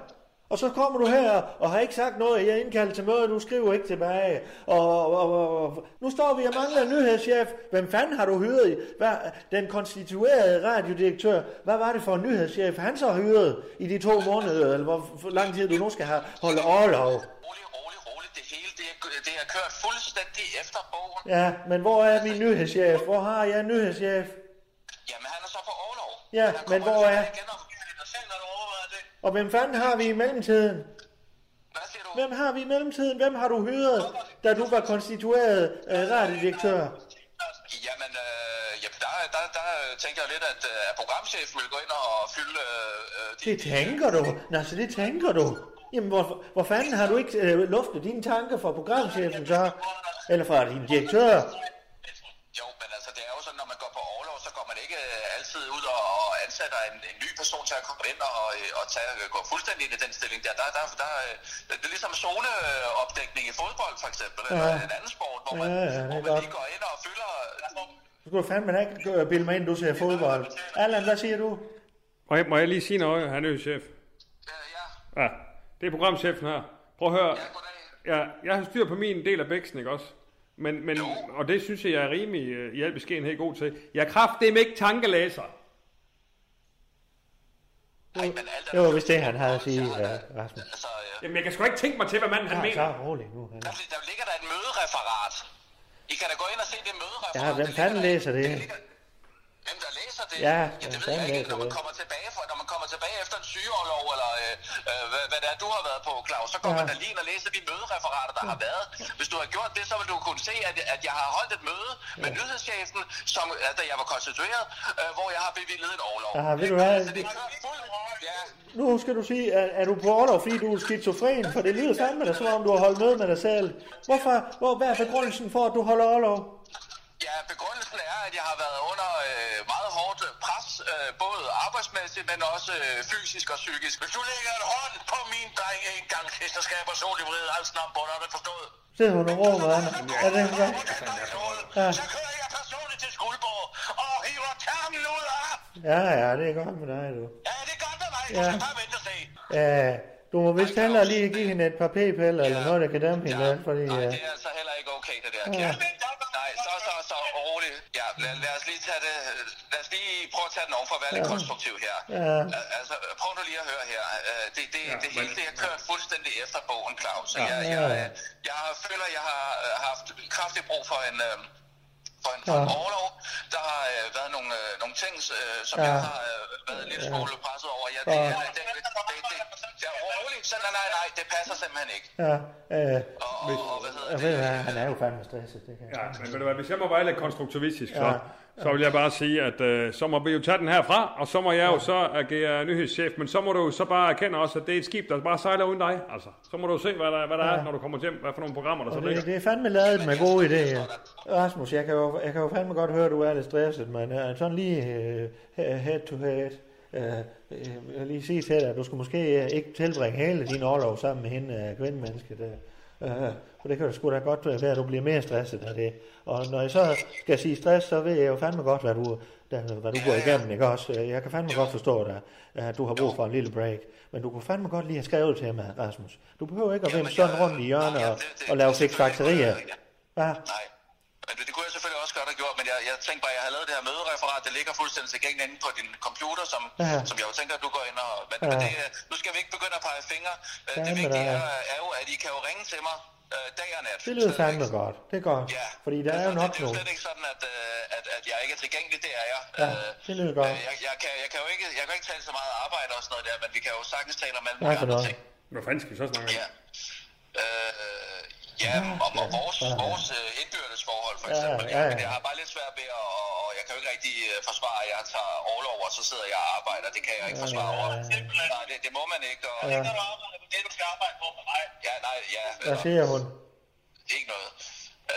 Og så kommer du her og har ikke sagt noget. Jeg er indkaldt til møde, du skriver ikke tilbage. Og, og, og, og nu står vi og mangler en nyhedschef. Hvem fanden har du hyret? i? Hvad, den konstituerede radiodirektør, hvad var det for en nyhedschef, han så hyret i de to måneder, eller hvor hvor lang tid du nu skal have holde overlov?
Rolig, rolig, rolig. Det hele, det er, det er kørt fuldstændig efter bogen.
Ja, men hvor er min nyhedschef? Hvor har jeg en nyhedschef?
Jamen, han er så på overlov.
Ja,
Han kommer
men hvor
tilbage
er-
Igen om og selv, når du overvejer det.
Og hvem fanden har vi i mellemtiden?
Hvad siger du?
Hvem har vi i mellemtiden? Hvem har du hyret, da du var konstitueret øh, radiodirektør?
Jamen, øh, jamen der, der, der øh, tænker jeg lidt, at, øh, at programchefen vil gå ind og fylde... Øh, øh, de-
Det tænker du. Nå, så det tænker du. Jamen, hvor, hvor fanden har du ikke øh, luftet dine tanker fra programchefen så? Eller fra din direktør?
Jo, men altså, det er jo sådan, når man går på overlov, så går man ikke øh, altid ud og, og ansætter en, en ny person til at komme ind og, øh, og tage, øh, gå fuldstændig ind i den stilling der. der, der, der øh, det er ligesom zoneopdækning i fodbold, for eksempel, ja. eller
Ja.
en anden sport, hvor man,
Ja, ja, det er
hvor man lige
godt.
går ind og fylder...
Du kan fandme da ikke øh, bilde mig ind, du ser fodbold. Allan, hvad siger du?
Må jeg, må jeg lige sige noget, han er chef?
Øh, ja,
Ja, det er programchefen her. Prøv at høre,
ja, goddag.
ja, jeg har styr på min del af bæksen, ikke også? Men, men, og det synes jeg, jeg er rimelig øh, i al beskedenhed god til. Jeg er kraftedeme ikke tankelæser.
Ej, men alt er
Det var vist det, han havde at sige, øh, Rasmus.
Altså, øh,
Jamen, jeg kan sgu ikke tænke mig til, hvad manden han
Ja,
mener.
så rolig nu. Allan.
der, der ligger der et mødereferat. I kan da gå ind og se det mødereferat.
Ja, hvem
Det
fanden
ligger der-
læser det?
ligger- Hvem der læser det?
Ja,
ja
hvem
det ved
fanden
jeg ikke.
læser
Når man
det?
kommer tilbage, fra, når man kommer tilbage efter en sygeoverlov, eller øh, øh, hvad, hvad det er, du har været på, Claus, så kommer
Ja.
ja. man da lige ind og læser de mødereferater, der har været. Hvis du har gjort det, så vil du kunne se, at, at jeg har holdt et møde med nyhedschefen, som, øh, da jeg var konstitueret, øh, hvor jeg har bevillet en overlov.
Ja, Ah, ved du hvad?
Så det kører fuld Ja,
Nu skal du sige, er, er du på orlov, fordi du er skizofren? For det lyder fandme da, som om du har holdt møde med dig selv. Hvorfor? Hvor, hvad er begrundelsen for, at du holder orlov?
Ja, begrundelsen er, at jeg har været under øh, meget hårdt pres, øh, både arbejdsmæssigt, men også øh, fysisk og psykisk. Hvis du lægger en hånd på min dreng en gang til, så skal jeg personligt vride halsen om på dig, har du forstået?
Sidder hun og råber, Anna? Er det hvad? Ja.
Så kører jeg personligt til Skuldborg og hiver termen ud af.
Ja, ja, det er godt med dig, du.
Ja, det er godt med mig. Du
Ja.
skal bare vente og se.
Ja, du må vist hellere lige give hende et par p-piller eller noget, der kan dæmpe hende, lidt, fordi...
Nej,
Ja.
det er altså heller ikke okay, det der.
Ja.
Ja. Nej, så, så, så roligt. Ja, lad, lad, os lige tage det, lad os lige prøve at tage den ovenfor, være lidt
Ja.
konstruktiv her.
Ja.
Al- Altså, prøv nu lige at høre her. Øh, Det, det,
Ja,
ja, det
men-
hele, det har kørt fuldstændig efter bogen, Claus. Ja. Jeg, jeg,
Ja.
jeg, jeg føler, jeg har øh, haft kraftig brug for en... øh, For en, for en
Ja.
overlov. Der har øh, været nogle, øh, nogle ting, øh, som
Ja.
ja. jeg har øh, været lidt smule presset over. Ja, det,
Ja.
ja. det, det, det, det, ja, roligt. Så, nej, nej, nej, det passer simpelthen ikke.
Ja, øh,
Og, og, og hvad hedder
jeg ved hvad, han er jo fandme stresset, det kan jeg.
Ja, men ved du hvad, hvis jeg må være lidt konstruktivistisk, så,
Ja.
så vil jeg bare sige, at øh, så må vi jo tage den herfra, og så må jeg jo så agere nyhedschef, men så må du jo så bare erkende også, at det er et skib, der bare sejler uden dig. Altså, så må du jo se, hvad der, hvad der ja. er, når du kommer hjem, hvad for nogle programmer, der så
Og
ligger.
det, det er fandme lavet med gode idéer. Rasmus, jeg kan, jo, jeg kan jo fandme godt høre, at du er lidt stresset, men uh, sådan lige uh, head to head, uh, uh, jeg vil lige sige til dig, at du skal måske uh, ikke tilbringe hele din overlov sammen med hende uh, kvindemenneske. Der. Uh, for det kan jo sgu da godt være, at du bliver mere stresset af det. Og når jeg så skal sige stress, så ved jeg jo fandme godt, hvad du, der, hvad du går igennem, ikke også? Øh, Jeg kan fandme godt forstå dig, at du har brug for en lille break. Men du kunne fandme godt lige have skrevet til mig, Rasmus. Du behøver ikke at vende sådan rundt i hjørnet og, og lave fiksfakterier. Ja,
Nej, men det, det kunne jeg selvfølgelig også godt have gjort, men jeg, jeg tænkte bare, at jeg havde lavet det her mødereferat, det ligger fuldstændig tilgængeligt inde på din computer, som,
Ja.
ja. som jeg jo tænker, at du går ind og... Men,
Ja.
ja. men det, øh, nu skal vi ikke begynde at pege fingre. Øh,
Fandme
Det vigtige
da.
er, er jo, at I kan jo ringe til mig øh, dag og nat.
det lyder
Stadigvæk.
fandme godt. Det er godt.
Ja.
Fordi der
Altså,
er jo
det-
nok
Det er
nogen.
jo slet ikke sådan, at, øh, at, at jeg ikke er tilgængelig, det er jeg.
Ja,
Øh,
det lyder godt.
øh, Jeg, jeg, kan, jeg kan jo ikke, jeg kan ikke tale så meget arbejde og sådan noget der, men vi kan jo sagtens tale om alle
Nej,
mulige
for
andre
noget.
ting.
Hvad fanden skal vi så snakke om?
Ja. Øh, ja, om, om vores, vores øh, indbyrdes forhold for
Ja,
eksempel.
ja, ja.
Men jeg har bare lidt svært ved, at, og, og jeg kan jo ikke rigtig øh, forsvare, at jeg tager overlov, og så sidder jeg og arbejder. Det kan jeg ikke forsvare over. Nej, det, det må man ikke. Og,
Ja.
ja. det, du skal arbejde på for mig.
Ja, nej, ja.
Hvad
altså,
siger hun?
Ikke noget.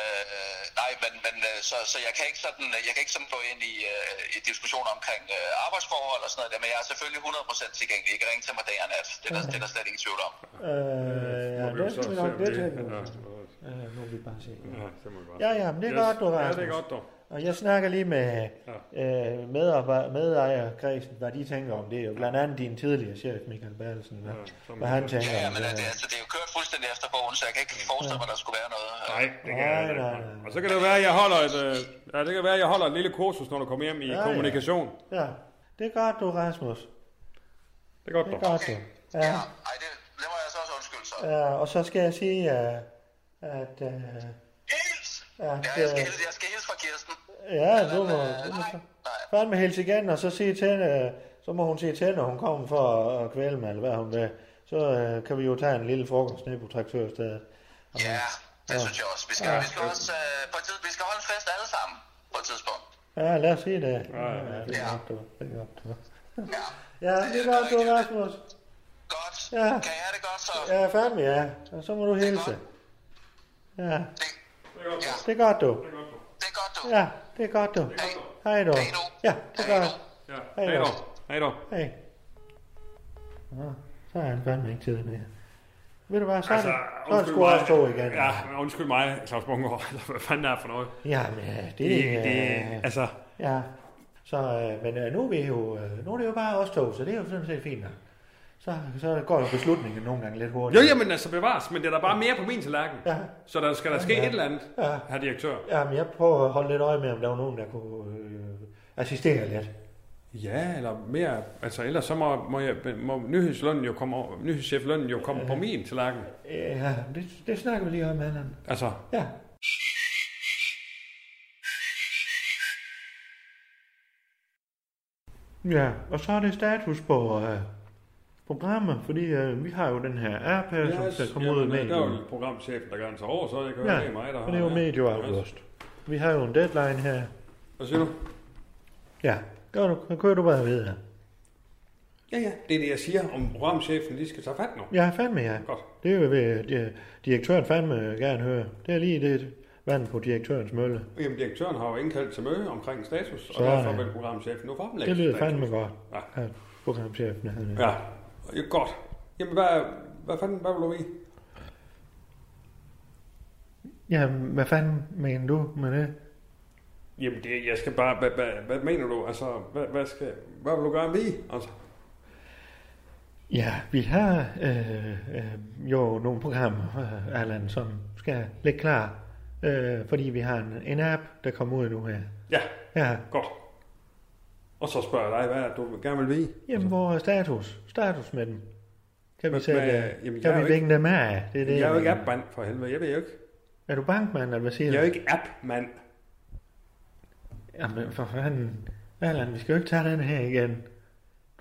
Øh, nej, men, men øh, så, så jeg kan ikke sådan, øh, jeg kan ikke sådan gå ind i, øh, i diskussioner omkring øh, arbejdsforhold og sådan noget der, men jeg er selvfølgelig 100% tilgængelig. I kan ringe til mig dag og nat. Det er der, det er der slet ingen tvivl om.
Øh, ja,
Må vi jo
det
så
skal vi
se,
nok
om
det
det-
til.
ja,
Øh, nu vil vi bare se.
ja, det må vi bare
Ja,
se.
ja, men det er godt, du,
Ja, det
Rasmus.
er godt, du.
Og jeg snakker lige med øh, medarbej- medejerkredsen, hvad de tænker om det. Og blandt andet din tidligere chef, Michael Berlsen, hvad,
som-
hvad han tænker
Ja, ja
om
men
det.
altså,
her.
altså, det er jo kørt fuldstændig efter bogen, så jeg kan ikke forestille mig, der skulle være noget. øh.
Nej, det kan jeg
Nej, nej,
ikke.
nej.
Og så kan det jo være, at jeg holder et, øh, ja, det kan være, at jeg holder et lille kursus, når du kommer hjem i
Ja, ja.
kommunikation.
Ja, det er godt, du, Rasmus.
Det er godt,
Det
du.
er godt, du.
Ja.
Ja,
Ej, det, det må jeg så også undskylde så.
ja, og så skal jeg sige, øh, at... Øh,
Hils!
at
Ja, jeg skal,
øh,
hilse- jeg skal hilse fra Kirsten.
ja, du må...
Øh,
Du må
nej, nej.
fandme hilse igen, og så sige til hende, øh, så må hun sige til hende, når hun kommer for at, at kvæle mig, eller hvad hun vil. Så øh, kan vi jo tage en lille frokost ned på traktørstedet.
Ja, det synes jeg også. Vi skal, ja. vi skal også øh, på et tidspunkt, vi skal holde en fest alle sammen på et tidspunkt.
Ja, lad os sige det. Ja,
ja,
ja, det er
ja.
godt, du. Det er godt, du.
Ja.
Ja, det er godt, du, Rasmus.
Godt.
Ja.
Ja. Kan jeg have det godt så? Ja.
Ja, fandme, ja. Og så må du hilse. Ja,
Det,
det er godt, du.
det er godt, du. Ja.
Ja, det er godt, du.
Hej.
Hej, du.
Hej nu.
Ja, det er
Hej
godt.
nu.
Ja.
Hej,
Hej,
du.
du. Hej, du.
Hej. Nå, så er han fandme ikke tid mere. Ved du hvad, så er det,
Altså,
så er det
undskyld
sgu også
mig.
to igen.
Ja, men undskyld mig, Claus Bunker. Hvad fanden er det for noget?
Jamen, ja, det,
Det,
det,
det,
det,
altså,
ja. Så, øh, men øh, nu er, vi jo, øh, nu er det jo bare os to, så det er jo sådan set fint nok. Så, så går jo beslutningen nogle gange lidt
jo,
hurtigt.
jamen, altså bevares, men det er der bare mere på min tallerken.
Ja.
Så der skal der ske et eller andet,
Ja.
herr direktør.
Jamen, jeg prøver at holde lidt øje med, om der var nogen, der kunne øh, assistere lidt.
Ja, eller mere, altså ellers så må, må, jeg, må nyhedslønnen jo komme, over- nyhedschef Lønnen jo komme på min tallerken.
Ja, det, det snakker vi lige om, Allan.
Altså,
Ja. Ja, og så er det status på øh, programmet, fordi øh, vi har jo den her app her, som skal komme ud
jamen,
med.
øh, Der er jo programchefen, der gerne tager over, så det kan være, det er mig, der
for det er jo medio
Yes.
august. Vi har jo en deadline her.
Hvad siger du?
Ja, gør du, kører du bare videre.
Ja, ja, det er det, jeg siger, om programchefen lige skal tage fat nu.
Ja, fandme ja.
Godt.
Det vil øh, di- direktøren fandme gerne høre. Det er lige det vand på direktørens mølle.
Jamen, direktøren har jo indkaldt til møde omkring status, og
Sådan.
derfor vil programchefen nu fremlægge
Det lyder
status.
fandme godt.
Ja.
Ja. Programchefen havde det.
Ja, ja godt. Jamen, hvad, hvad fanden, hvad vil du i?
Ja, hvad fanden mener du med det?
Jamen, det, jeg skal bare, hvad, hvad, hvad mener du? Altså, hvad, hvad, skal, hvad vil du gøre med Altså,
Ja, vi har øh, øh, jo nogle programmer, øh, Allan, som skal ligge klar, øh, fordi vi har en, en app, der kommer ud nu her.
ja,
Ja,
godt. Og så spørger jeg dig, hvad er det, du gerne vil vide?
jamen hvor er status? Status med dem. Kan vi
Altså. Men-
sætte,
men,
øh,
jamen, jeg er
kan
jo
vi
ikke-
vinge dem af? Det er, det,
Jeg er jo ikke appmand for helvede, jeg ved jo ikke.
er du bankmand, eller hvad siger
Jeg
du?
er jo ikke appmand.
Jamen for fanden, Allan, vi skal jo ikke tage den her igen.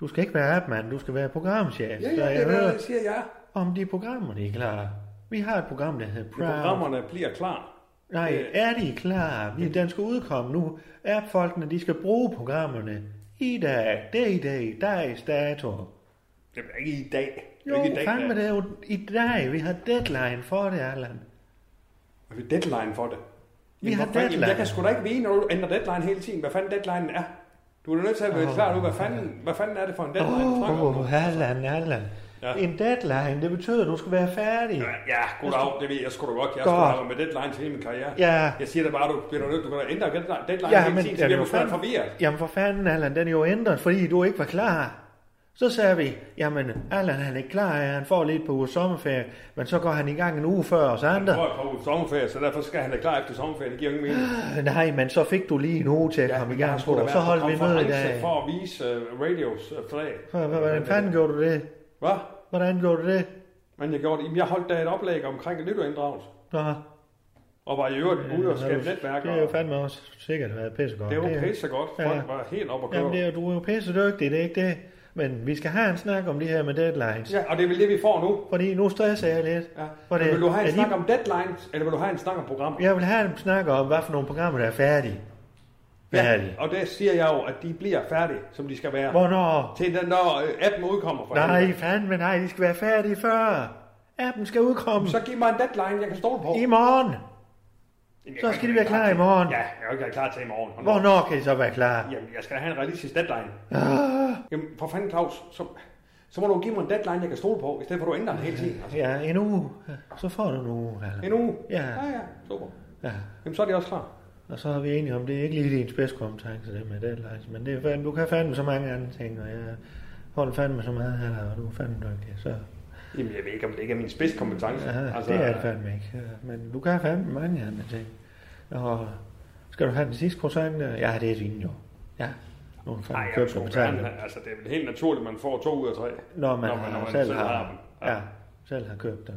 Du skal ikke være appmand, du skal være programchef.
Ja,
så
ja,
jeg
det, er,
hører
det siger jeg.
om de programmer, de er klar. Vi har et program, der hedder Proud.
Programmerne bliver klar.
Nej, er de klar? Vi, den skal udkomme nu. Er folkene, de skal bruge programmerne. I dag, det er i dag, der er i dato.
Det er ikke i dag. Det er
Jo,
ikke i dag,
fandme,
da.
det er jo i dag. Vi har deadline for det, Allan.
Har vi deadline for det?
Vi har
hvor fanden-
deadline.
jeg kan sgu da ikke vide, når du ændrer deadline hele tiden, hvad fanden deadline er. Du er da nødt til at være klar nu, hvad fanden, hvad fanden er det for en deadline, du snakker om
Åh,
nu?
oh, Allan, Allan.
Ja.
En deadline, det betyder, at du skal være færdig.
Ja, goddag, det ved jeg sgu da godt. Jeg
Godt.
har sgu da med deadline til hele min karriere.
Ja.
Jeg siger da bare, du bliver da nødt til at ændre deadline, deadline ja, hele tiden, så
den er
bliver
jo
du sgu
fandme-
forvirret.
Jamen for fanden, Allan, den er jo ændret, fordi du ikke var klar. Så sagde vi, jamen Allan han er ikke klar, han får lidt på uges sommerferie, men så går han i gang en uge før os andre.
Jeg tror, jeg på sommerferie, så derfor skal han da klar efter sommerferie. Det giver jo ingen mening.
Nej, men så fik du lige en uge til at ja, komme i
jeg har
gang
sgu da
på,
været
så
på
holdt vi møde i
konference
dag.
For at vise uh, radios uh, flag.
Hva- hva- Hvordan fanden gjorde du det?
Hvad?
Hvordan gjorde du det?
Men jeg, gjorde, jamen, jeg holdt da et oplæg omkring nytårsinddragelse.
Nå,
Og var i øvrigt ude og skabe
det er jo-
netværk.
Det er jo fandme også sikkert været pissegodt.
Det var
er-
pisse godt. Folk
Ja.
var helt op og køre.
Jamen, det er, jo- du er jo pissedygtig, det er ikke det. Men vi skal have en snak om det her med deadlines.
Ja, og det er vel det, vi får nu.
Fordi nu stresser jeg lidt.
Ja.
For
Men
det-
vil du have
er
en
de-
snak om deadlines, eller vil du have en snak om programmer?
Jeg vil have en snak om, hvad for nogle programmer, der er færdige. Det er de.
Og der siger jeg jo, at de bliver færdige, som de skal være.
Hvornår?
Til den, når øh, appen udkommer for
Nej,
helvede.
fandme nej, de skal være færdige før. Appen skal udkomme
Så giv mig en deadline, jeg kan stole på.
i morgen.
Jamen,
så
jeg
skal
kan
de være
ikke
klar
til-
i morgen.
Ja, jeg kan ikke være klar til i morgen. Hold nu.
Hvornår kan I så være klar?
Jamen, jeg skal have en realistisk deadline.
Ah.
Jamen, for fanden, Claus, så, så må du give mig en deadline, jeg kan stole på, i stedet for at du ændrer den hele tiden. Altså.
Ja, en uge. Så får du en uge. Eller?
En uge?
Ja.
Ja, ja, super.
Ja.
Jamen, så er det også klar.
Og så er vi enige om, det er ikke lige din spidskompetence, det med deadlines, men det er fandme, du kan fandme så mange andre ting, og jeg holder fandme så meget af dig, og du er fandme dygtig, så
Jamen, jeg ved ikke, om det ikke er min spidskompetence.
ja, altså, det er det fandme ikke. Ja, Men du kan fandme mange andre ting. Og skal du have den sidste croissant? der? Ja, det er din jo. Ja, nu er den
Nej,
fandme
jeg
købt og
skulle
betalt.
gerne, altså, det er vel helt naturligt, at man får to ud af tre.
Når man, når man, har, selv, har,
dem.
ja. selv har købt dem.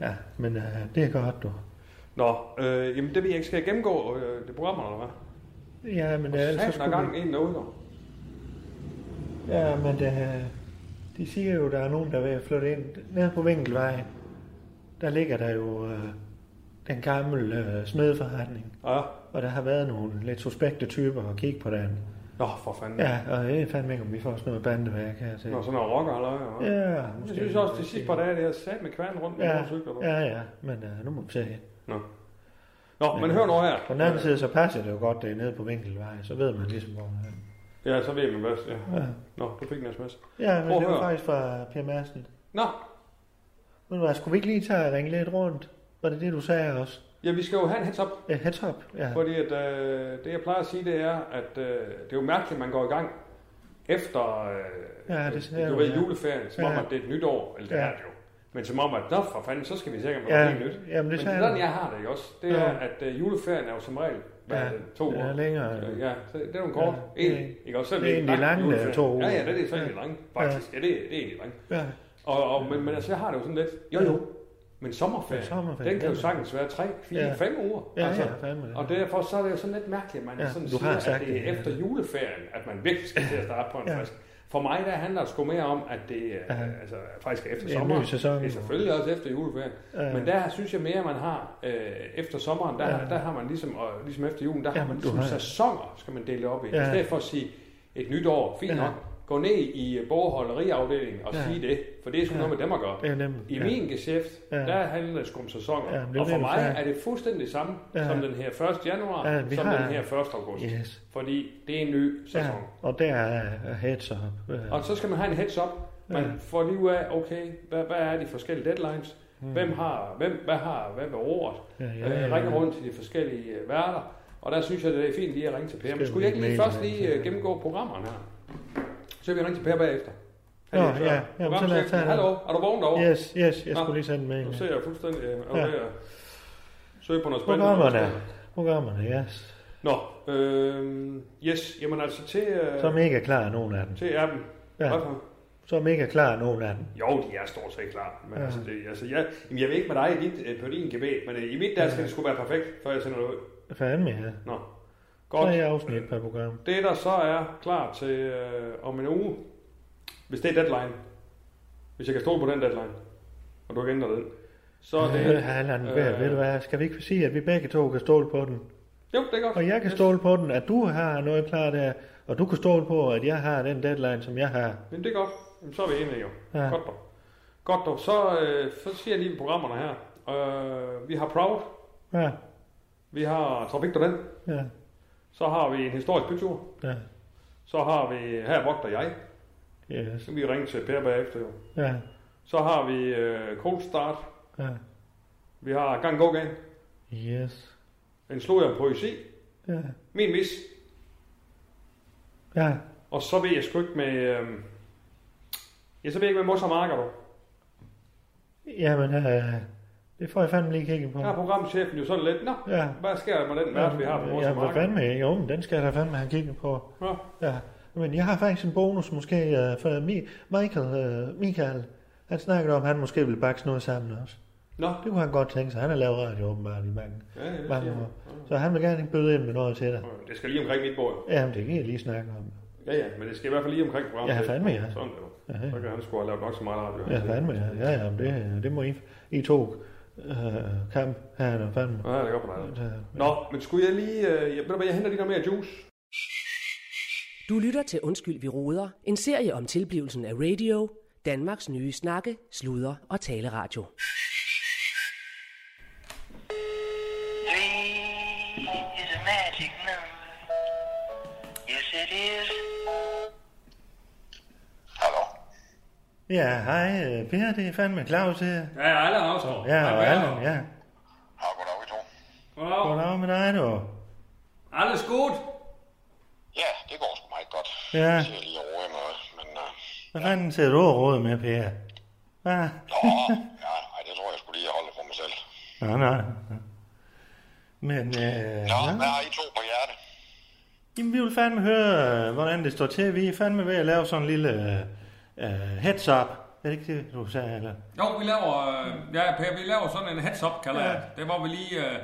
Ja, men øh, det er godt, du.
Nå, øh, jamen det ved jeg ikke. Skal jeg gennemgå øh, det program, eller hvad?
Ja, men øh,
Ja, så
ellers så
skal
skulle vi...
gang en derude, dog.
Ja, men øh, de siger jo, der er nogen, der vil flytte ind. Nede på Vinkelvej, der ligger der jo øh, den gamle øh, smedforretning.
Ja,
Og der har været nogle lidt suspekte typer at kigge på den.
Nå, for fanden.
Ja, og jeg ved fandme ikke, om vi får sådan noget bandeværk her til.
Nå, sådan noget rocker, eller hvad? Ja.
Ja,
Jeg
måske.
synes også, de sidste par dage, det her sat med kværn rundt med ja.
Ja,
motorcykler. Ja.
ja, ja, men øh, nu må vi se.
Nå. Nå, men hør nu her.
På den anden side, så passer det jo godt, det er nede på Vinkelvej, så ved man ligesom, hvor man er.
Ja, så ved man bedst, ja.
Ja,
Nå, du fik en sms.
ja men
Prøv at
det var
høre.
faktisk fra Per Madsen.
Nå,
Men hvad, skulle vi ikke lige tage og ringe lidt rundt? Var det det, du sagde også?
ja, vi skal jo have en heads up.
Ja, heads up, ja.
Fordi at, øh, det, jeg plejer at sige, det er, at øh, det er jo mærkeligt, at man går i gang efter øh,
Ja, det ser
du
jeg,
ved,
ja.
juleferien, som
Ja.
om, at det er et nyt år, eller det
Ja.
er det jo. Men som om, at nå for fanden, så skal vi sikkert med
Ja,
noget helt nyt.
jamen, det
Men
sagde jeg.
sådan, jeg har det ikke også, det
Ja.
er, at øh, juleferien er jo som regel hvad er det, to
ja,
uger.
længere.
Øh, Ja, så det er jo en kort.
Ja,
en,
det er-
ikke også? Så
det er
en
egentlig
lang
lange
juleferie.
to uger.
Ja, ja, det er så egentlig langt, faktisk. Ja, det er, det er egentlig langt.
Ja,
Og, og, men, men altså, jeg har det jo sådan lidt, jo jo, men sommerferien,
Men sommerferien,
den kan jo
den-
sagtens være 3, 4,
Ja.
5 uger.
ja,
altså.
ja, fandme det.
Og derfor så er det jo sådan lidt mærkeligt, at man
Ja,
ja, sådan
du har
siger,
sagt
at det er
det, ja.
efter juleferien, at man virkelig skal til at starte på en
Ja.
frisk. For mig der handler det sgu mere om, at det er,
Ja.
altså, faktisk er efter
En
sommeren.
ny sæson.
Det er selvfølgelig også efter juleferien.
Ja.
Men der synes jeg mere, at man har øh, efter sommeren, der,
Ja.
der har man ligesom, og ligesom efter julen, der
Ja,
ja, har man
men du
ligesom
har-
sæsoner, skal man dele op i.
Ja.
I stedet for at sige et nyt år, fint
Ja.
nok, gå ned i øh, bogholderiafdelingen og
Ja.
sige det, for det er sgu
Ja.
noget med dem at gøre.
Det er nemt.
I
ja.
min geschæft,
Ja.
der handler det sgu om sæsoner.
Ja, men det er
og for
det, du
mig
sagde.
er det fuldstændig samme
Ja.
som den her 1. januar,
Ja, vi
som
har-
den her 1. august.
Yes.
Fordi det er en ny
Ja,
sæson.
og der er heads up. øh,
Og så skal man have en heads up. Man
Ja.
får lige ud af, okay, hvad, hvad er de forskellige deadlines? Hvem har, hvem, hvad har, hvad ved ordet?
Mm. Ja, ja,
Øh,
ja,
Ringe
ja.
rundt til de forskellige øh, værter. Og der synes jeg, det er fint lige at ringe til Per. Men
Skal
skulle jeg
vi
ikke lige
male
først
det?
lige øh, gennemgå programmerne her? Så vil jeg ringe til Per bagefter.
Nå,
Han er
ja.
før.
Jamen, så lad os
Programchefen,
tage den.
Hallo, er du vågen derovre?
Yes, yes, jeg
Nå.
skulle lige sende med.
Nu ser jeg fuldstændig... Øh, er
Ja.
du ved at søge på noget spændende?
Programmerne, programmerne, yes.
Nå, øh, yes, jamen altså til, øh,
Som ikke er klar, nogen af dem.
til appen.
Ja.
Ja. Hvorfor?
Som ikke er klar, nogen af dem.
Jo, de er stort set klar. Men
Ja.
ja. altså, det, altså jeg, jamen, jeg ved ikke med dig i dit, øh, på din GB, men øh, i mit der skal det skulle være perfekt, før jeg sender det ud.
Fandme, ja.
Nå,
Så er
godt.
jeg afsnit per program.
Det der så er klar til øh, om en uge, hvis det er deadline, hvis jeg kan stole på den deadline, og du ikke ændrer den, så er det...
Øh, Halland, øh, ved du hvad, skal vi ikke sige, at vi begge to kan ståle på den?
Jo, det er godt.
Og jeg kan
Yes.
ståle på den, at du har noget klar der, og du kan ståle på, at jeg har den deadline, som jeg har.
Jamen det er godt. Jamen, så er vi enige jo.
Ja.
Ja. Godt dog. Godt dog. Så, øh, så siger jeg lige programmerne her. Øh, vi har Proud.
Ja,
Vi har Trafik den.
ja,
Så har vi en historisk bytur.
ja,
Så har vi Her vogter jeg.
yes,
Så vi ringe til Per bagefter jo.
ja,
Så har vi øh, Cold Start.
ja,
Vi har Gang Go Gang.
yes,
En slog jeg poesi.
ja,
Min mis.
ja.
Og så ved jeg sgu ikke med... Øh, ja, så ved jeg ikke med Mos og Marker du.
Jamen, øh, det får jeg fandme lige kigget på.
Her er programchefen jo sådan lidt. Nå,
Ja.
hvad sker der med den vært, vi har på Mos
Ja,
og
for
Marker?
fandme, jo, men den skal jeg da fandme have kigget på.
Ja.
Ja, men jeg har faktisk en bonus måske øh, for Mi- Michael, øh, Michael. Han snakkede om, at han måske ville bakse noget sammen også.
Nå,
Det kunne han godt tænke sig. Han har lavet radio åbenbart i mange,
ja, ja, det
mange
siger
år.
han.
Så han vil gerne byde ind med noget til dig.
Øh, Det skal lige omkring mit bord. jo.
Jamen, det kan jeg lige snakke om.
Ja, ja, men det skal i hvert fald lige omkring programmet.
Ja, fandme, ja.
Sådan der.
Ja, ja.
Så kan han sgu have lavet nok så meget radio.
Ja, fandme, ja. ja, ja men det, det må I, I to øh, kamp her, eller fandme.
Ja, det er godt på dig.
Øh,
Nå, men skulle jeg lige... Øh, jeg, ved du hvad, jeg henter lige noget mere juice.
Du lytter til Undskyld, vi roder, en serie om tilblivelsen af radio, Danmarks nye snakke, sludre og taleradio.
Three is a magic number. Yes, it is.
Hallo?
Ja, hej øh, Per, det er fandme Claus her.
Ja, jeg er aldrig afstår.
Ja, og Allan, ja.
Har goddag, I to.
Goddag.
Goddag med dig, du.
Alles gut.
Ja, det går sgu meget godt.
Ja.
Jeg ser lige over i noget, men... Øh,
Hvad fanden ser du og råd med, Per? Ah,
nå, ja, ej, det tror jeg skulle lige holde for mig selv.
nej, nej. Men, øh,
Nå,
ja.
hvad har I to på hjerte?
Jamen, vi vil fandme høre, øh, hvordan det står til. Vi er fandme ved at lave sådan en lille øh, øh, heads up. Er det ikke det, du sagde, eller?
Jo, vi laver, øh, ja, per, vi laver sådan en heads-up, kalder ja. jeg det. Det er, hvor vi lige... Øh,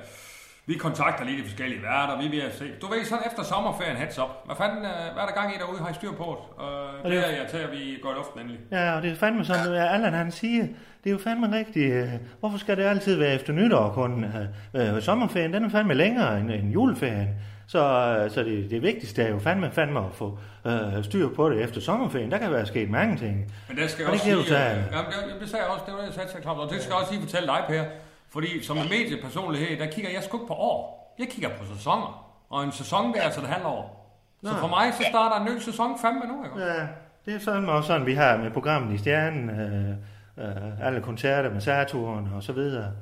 vi kontakter lige de forskellige værter, vi er ved at se. Du ved, sådan efter sommerferien heads-up. Hvad fanden, øh, hvad er der gang i derude? Har I styr på det? Øh, det
det-
er jeg til, at vi går i luften endelig.
Ja, og det er fandme sådan, at Allan han siger, det er jo fandme rigtigt. øh, Hvorfor skal det altid være efter nytår kun? Øh, øh, sommerferien, den er fandme længere end, end juleferien. Så, øh, så det, det vigtigste er jo fandme, fandme at få øh, styr på det efter sommerferien. Der kan være sket mange ting.
Men det skal
Og det
jeg også
kan du
sige...
tage.
øh, jamen, det, det sagde jeg også, det var det, jeg sagde til Claus. Og det skal jeg også lige fortælle dig, Per. Fordi som en mediepersonlighed, der kigger jeg sgu ikke på år. Jeg kigger på sæsoner. Og en sæson, det er altså et halvt år. Så for mig, så starter en ny sæson fandme nu, ikke?
Ja, øh, det er sådan også sådan, vi har med programmet i Stjernen, øh, øh, alle koncerter med Saturn og så videre.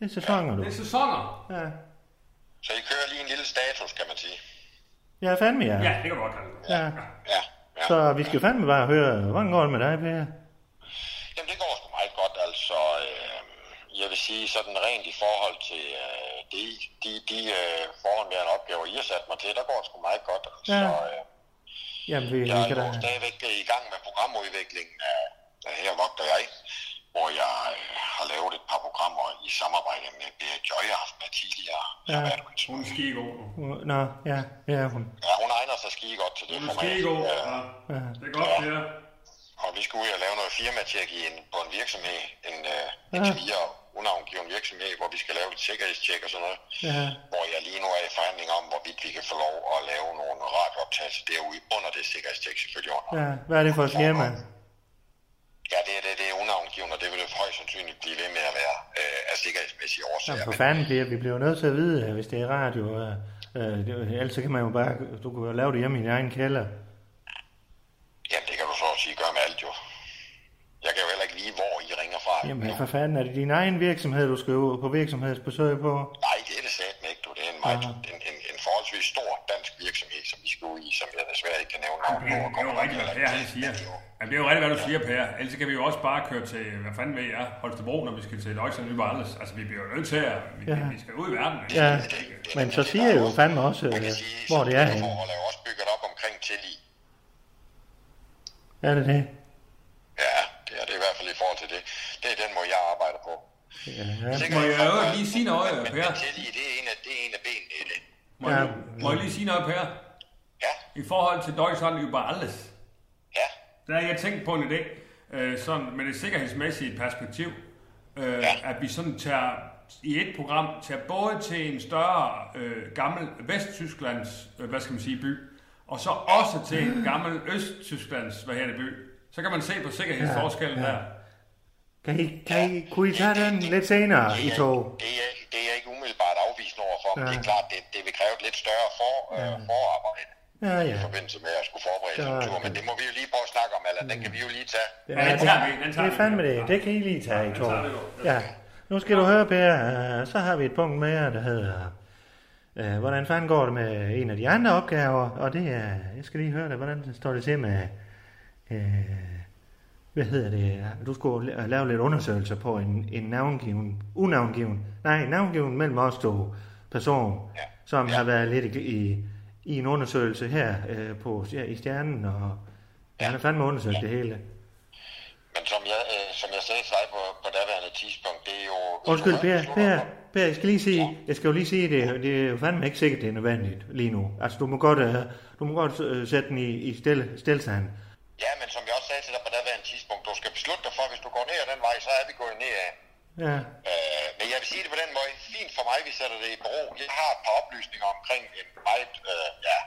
Det er sæsoner, du.
Det er sæsoner.
Ja,
Så I kører lige en lille status, kan man sige.
ja fandme ja.
Ja, det kan du godt kalde det.
ja.
Ja, ja.
Så vi skal fandme bare høre, hvordan går det med dig, Per?
Jamen, det går sgu meget godt, altså. Øh, jeg vil sige sådan rent i forhold til øh, de, de, de øh, forhåndværende opgaver, I har sat mig til, der går det sgu meget godt. Altså,
Ja.
øh,
Jamen, vi, vi
jeg er
kan da...
nu stadigvæk øh, i gang med programudviklingen af, af Her Vogter Jeg, hvor jeg øh, har lavet et par programmer i samarbejde med Bea Joy, jeg har haft med tidligere.
Ja.
Jeg har været med til-
Hun er skigod.
Nå, ja, ja, hun.
Ja, hun egner sig skide godt til det
Hun er
format.
skigod.
Ja.
Ja.
Ja.
Det er godt, Per.
Og vi skulle ud og lave noget firmatjek i en, på en virksomhed, en, øh, en
Ja.
ja. unavngiven virksomhed, hvor vi skal lave et sikkerhedstjek og sådan noget.
Ja.
Hvor jeg lige nu er i forhandling om, hvorvidt vi kan få lov at lave nogle radiooptagelser derude under det sikkerhedstjek selvfølgelig under. Ja.
ja, hvad er det for et firma?
ja, det er det, det er unavngiven, og det vil det højst sandsynligt blive ved med at være øh, af sikkerhedsmæssige årsager.
Jamen, for fanden, Per, vi bliver jo nødt til at vide, øh, hvis det er radio. Øh, øh, det- ellers så kan man jo bare... Du kan jo lave det hjemme i din egen kælder.
Men, jamen, det kan du så at sige gøre med alt jo. Jeg kan jo heller ikke vide, hvor I ringer fra.
Jamen, for fanden, er det din egen virksomhed, du skal jo på virksomhedsbesøg på?
Nej, det er det satme ikke, du. Det er en, meget,
Aha.
en, en, en forholdsvis stor dansk virksomhed, som vi skal ud i, som jeg desværre ikke kan nævne navn
Det er- det er jo rigtigt, hvad Per han siger. Jamen, det er jo rigtigt, hvad du siger, Per. Ellers så kan vi jo også bare køre til, hvad fanden ved jeg, Holstebro, når vi skal til Deutsche og Nybarles. Altså, vi bliver jo nødt til at... Vi,
Ja.
vi skal ud i verden. ikke?
Ja, men så siger jeg jo fandme også, øh, hvor det er henne.
Forhold er jo også bygget op omkring tillid.
Er det det?
Ja, det er det i hvert fald i forhold til det. Det er den måde, jeg arbejder på.
Ja,
Sikkert
Må jeg
ikke-
jo lige sige noget,
Men,
Per?
men tillid, det er en af, det er en af benene i det.
Må, jeg,
Ja.
må jeg lige sige noget, Per?
Ja,
I forhold til Deutschland über alles,
ja,
der har jeg tænkt på en idé, øh, sådan med det sikkerhedsmæssige perspektiv, øh, at vi sådan tager i et program, tager både til en større øh, gammel Vesttysklands, øh, hvad skal man sige, by, og så også til en gammel Østtysklands, hvad hedder det, by. Så kan man se på sikkerhedsforskellen ja, ja. der.
kan I, kan I, kunne I tage den lidt senere i
det er,
tog?
det er, det er jeg ikke umiddelbart afvisende overfor, men
Ja.
det er klart, det, det vil kræve et lidt større for, øh, forarbejde
Ja,
i
ja.
forbindelse med at skulle forberede sådan
Ja.
en tur, men det må vi jo lige prøve at snakke om, eller
Mm.
den kan vi jo lige tage.
Det
Ja,
er,
den tager vi, den
det
tager
er
vi.
fandme det. Det kan I lige tage i tog. Ja. Nu skal du høre, Per. øh, Så har vi et punkt mere, der hedder... øh, Hvordan fanden går det med en af de andre opgaver? Og det er... Jeg skal lige høre dig, hvordan står det til med... øh, Hvad hedder det? Du skulle la- lave lidt undersøgelser på en, en navngiven... Unavngiven... Nej, navngiven mellem os to person,
Ja.
som
Ja.
har været lidt i, i, i en undersøgelse her øh, på, ja, i Stjernen, og han har fandme undersøgt det hele.
Men som jeg, øh, som jeg sagde til dig på, på daværende tidspunkt, det er jo...
Undskyld, Per, per, per jeg, skal lige sige, jeg skal jo lige sige, det, det er jo fandme ikke sikkert, det er nødvendigt lige nu. Altså, du må godt, øh, du må godt øh, sætte den i, i stil, stilstand.
Ja, men som jeg også sagde til dig på daværende tidspunkt, du skal beslutte dig for, hvis du går ned ad den vej, så er vi gået ned ad.
Ja,
Øh, men jeg den måde fint for mig, vi sætter det i bero. Jeg har et par oplysninger omkring en meget, øh, ja,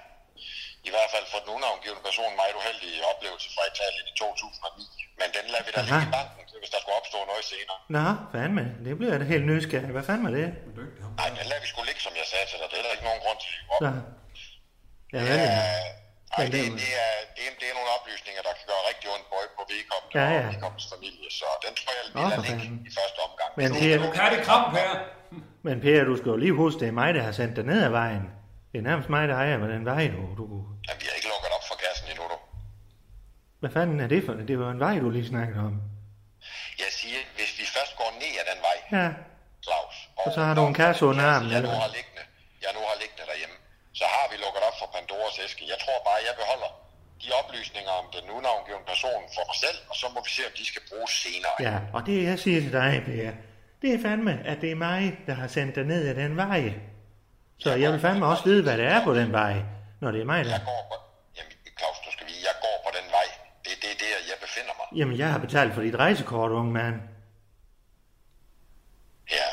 i hvert fald for den unavngivende person, meget uheldig oplevelse fra Italien i 2009. Men den lader vi da
Aha.
ligge i banken, til, hvis der skulle opstå noget senere.
Nå, fandme. Det bliver jeg da helt nysgerrig. Hvad fanden var det?
Dygtig ham.
Nej, den lader vi sgu ligge, som jeg sagde til dig. Det er der ikke nogen grund til at lyve op.
Nå. Ja, ja, ja.
Øh, ej,
Ja,
det,
det-
det, er, det, er, det er nogle oplysninger, der kan gøre rigtig ondt på, på vedkommende
Ja,
ja,
ja.
og vedkommendes familie, så den tror jeg, vi
Nå,
lader
for
ligge
fanden.
i første omgang.
Men
Nu-
det er-
nu-
Du kan det kramp her.
Men Per, du skal jo lige huske, det er mig, der har sendt dig ned ad vejen. Det er nærmest mig, der ejer, hvordan vej du... du...
Jamen, vi har ikke lukket op for gassen endnu, du.
Hvad fanden er det for? Det var en vej, du lige snakkede om.
Jeg siger, hvis vi først går ned ad den vej,
Ja,
Claus,
Og så har du en kasse under armen,
jeg
eller
nu
hvad?
har liggende, jeg nu har liggende derhjemme, så har vi lukket op for Pandoras æske. Jeg tror bare, jeg beholder de oplysninger om den unavngivende person for mig selv, og så må vi se, om de skal bruges senere.
ja. Og det, jeg siger til dig, Per, det er fandme, at det er mig, der har sendt dig ned ad den vej. Så jeg vil fandme også vide, hvad det er på den vej, når det er mig, der...
Jeg går på, jamen, Claus, du skal vide, jeg går på den vej. Det, det er der, jeg befinder mig.
Jamen, jeg har betalt for dit rejsekort, unge mand.
Ja.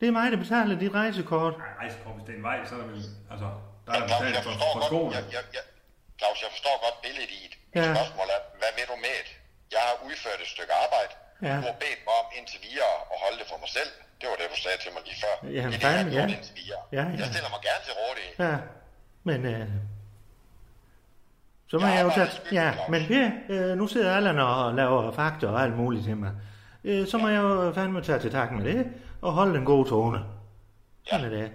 Det er mig, der betaler dit rejsekort.
Nej, rejsekort, hvis det er en vej, så er der vel... Altså, der
Men
er der
Claus,
betalt
jeg
for,
forstår
for
godt,
skoene.
jeg, jeg, jeg, Claus, jeg forstår godt billedet i det. Mit
Ja.
spørgsmål er, hvad vil du med det? Jeg har udført et stykke arbejde.
Ja.
Du har bedt mig om indtil videre at holde det for mig selv. Det var det, du sagde til mig lige før. det er det, jeg har
fandme, ja.
gjort indtil videre.
Ja, ja.
Jeg stiller mig gerne til rådighed.
Ja, men... Øh, så må
Jeg
jeg jo
arbejder
tage...
i
Ja,
skyggen,
men Per, øh, nu sidder Allan og laver fakta og alt muligt til mig. Øh, så må jeg jo fandme tage til tak med det, og holde den gode tone. Sådan er det.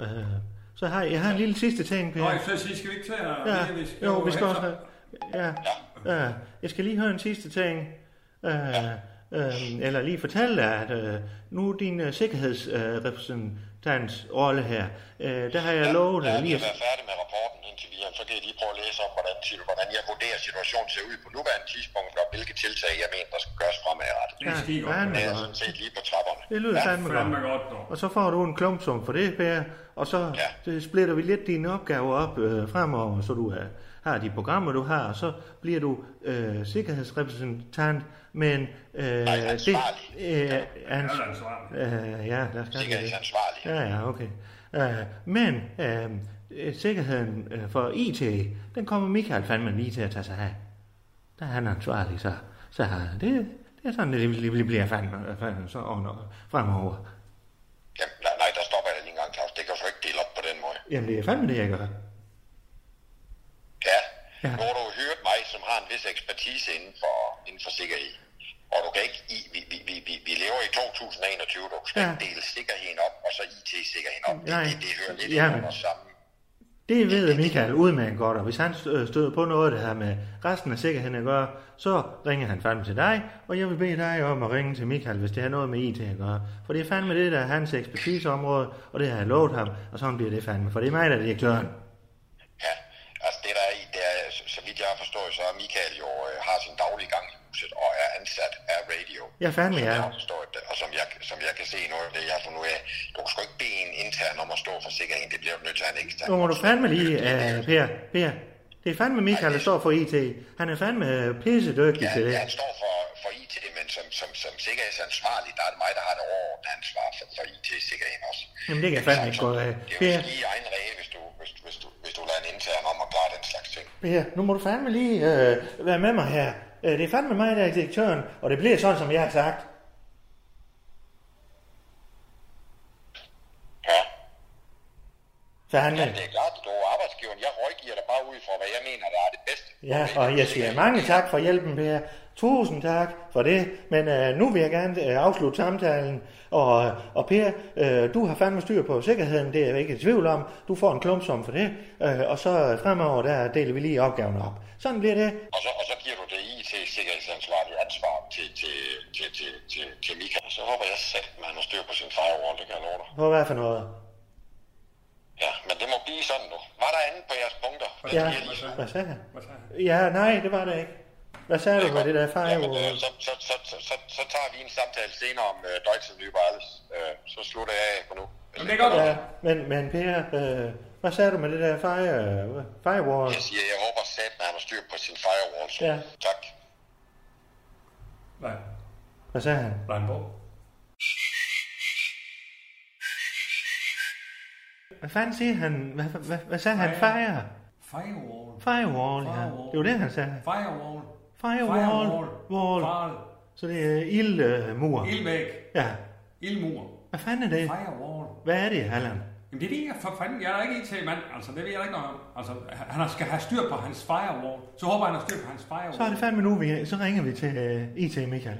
Øh, så har jeg, jeg har en lille sidste ting, Per.
Nå, jeg synes, I skal vi ikke til at...
Ja,
vi
jo, vi skal
have-
også... Ja, ja. Jeg skal lige høre en sidste ting. Øh,
Øhm,
øh, eller lige fortælle dig, at øh, nu din øh, sikkerhedsrepræsentants øh, rolle her, øh, der har jeg lovet
Ja,
dig lige
Jeg
at...
er færdig med rapporten indtil videre, så kan I lige prøve at læse om, hvordan, hvordan jeg vurderer situationen ser ud på nuværende tidspunkt, og hvilke tiltag, jeg mener, der skal gøres fremadrettet.
Det er skide godt.
fandme
Det er
godt.
sådan set lige på trapperne.
Det lyder fandme
Fandme
godt.
godt, dog.
Og så får du en klumpsum for det, Per, og så
Ja.
øh, splitter vi lidt dine opgaver op øh, fremover, så du øh, har de programmer, du har, og så bliver du øh, sikkerhedsrepræsentant, men øh, det
ansvarlig.
øh,
Jeg
ans,
er ansvarlig.
øh, ja, lad os kalde det det.
Sikkerhedsansvarlig.
Ja, ja, okay. Øh, men øh, øh, sikkerheden øh, for IT, den kommer Michael fandme lige til at tage sig af. Der er han ansvarlig, så, så det, det er sådan, det, det bliver fandme, øh, fandme så under, fremover.
Jamen, nej, nej, der stopper jeg da lige en gang, Claus. Det kan du ikke dele op på den måde.
Jamen, det er fandme det, jeg gør.
Ja.
Ja.
ja. Nu har du jo hørt mig, som har en vis ekspertise inden for, inden for sikkerhed. Og du kan ikke, i, vi, vi, vi, vi, vi lever i 2021, du skal
Ja.
ja. ikke dele sikkerheden op, og så IT-sikkerheden op.
Nej.
Det, det, det hører lidt
Jamen.
ind under sammen.
Det ved Michael udmærket godt, og hvis han øh, støder på noget, der har med resten af sikkerheden at gøre, så ringer han fandme til dig, og jeg vil bede dig om at ringe til Michael, hvis det har noget med IT at gøre. For det er fandme det, der er hans ekspertiseområde, og det har jeg lovet ham, og sådan bliver det fandme, for det er mig, der er direktøren.
Ja, altså det der er i, det er, så, så vidt jeg har forstået, så er Michael jo øh, har sin daglige gang i huset og er ansat af radio.
Ja, fandme,
som
ja.
Jeg har forstået det, og som jeg, som jeg kan se nu, det jeg har fundet ud af, du skal ikke bede en intern om at stå for sikkerheden, det bliver du nødt til at have en ekstern.
Nu må du fandme lige, uh, Per, Per. Det er fandme Michael, der står for IT. Han er fandme øh, pissedygtig
Ja,
til det.
han står for, for IT, men som, som, som sikkerhedsansvarlig, der er det mig, der har det overordnede ansvar for, for IT-sikkerheden også.
Jamen, det kan jeg fandme ikke gå af.
Det er jo
Per,
ikke lige i egen ræge, hvis du, hvis, hvis, du, hvis du lader en intern om at klare den slags ting.
Per, nu må du fandme lige øh, være med mig her. Øh, det er fandme mig, der er direktøren, og det bliver sådan, som jeg har sagt.
Ja,
Fandme.
ja
øh,
det er klart, du er arbejdsgiveren. Jeg rådgiver dig bare ud fra, hvad jeg mener, der er det bedste.
Ja, og jeg siger mange tak for hjælpen, Per. Tusind tak for det. Men øh, nu vil jeg gerne øh, afslutte samtalen. Og, øh, og Per, øh, du har fandme styr på sikkerheden, det er jeg ikke i tvivl om. Du får en klumpsum for det. Øh, og så øh, fremover, der deler vi lige opgaven op. Sådan bliver det.
Og så, og så giver du det IT-sikkerhedsansvarlige ansvar til, til, til, til, til, til Michael. Så håber jeg selv, at han har styr på sin firewall, det kan jeg love dig.
På hvad for noget?
Ja, men det må blive sådan nu. Var der andet på jeres punkter? øh, Det
Ja,
skal jeg lige-
hvad sagde jeg?
Hvad sagde han?
Ja, nej, det var det ikke. Hvad sagde du med det der
Jamen, øh,
firewall?
så, så, så, så, så, så tager vi en samtale senere om øh, Deutsche Nye Wireless. Øh, så slutter jeg af for nu.
Jamen, det er godt.
Ja, men, men Per, øh, hvad sagde du med det der fire, firewall?
Jeg siger, jeg håber sat, at han har styr på sin firewall. Så.
Ja.
Tak.
Nej,
Hvad sagde han?
Blejnborg.
Hvad fanden siger han? Hvad, hvad, hvad sagde han?
Fire.
Fire?
Firewall.
Firewall, ja.
Firewall.
Det var det, han sagde.
Firewall.
Firewall. Wall.
Firewall.
Så det er ildmur.
Ildvæg.
Ja.
Ildmur.
Hvad fanden er det?
Firewall.
Hvad er det, Allan?
Jamen det er det, jeg for fanden, jeg er ikke IT-mand, altså det ved jeg ikke noget om. Altså han har- skal have styr på hans firewall, så håber jeg, han har styr på hans firewall.
Så er det fandme nu, vi, så ringer vi til uh, IT Michael.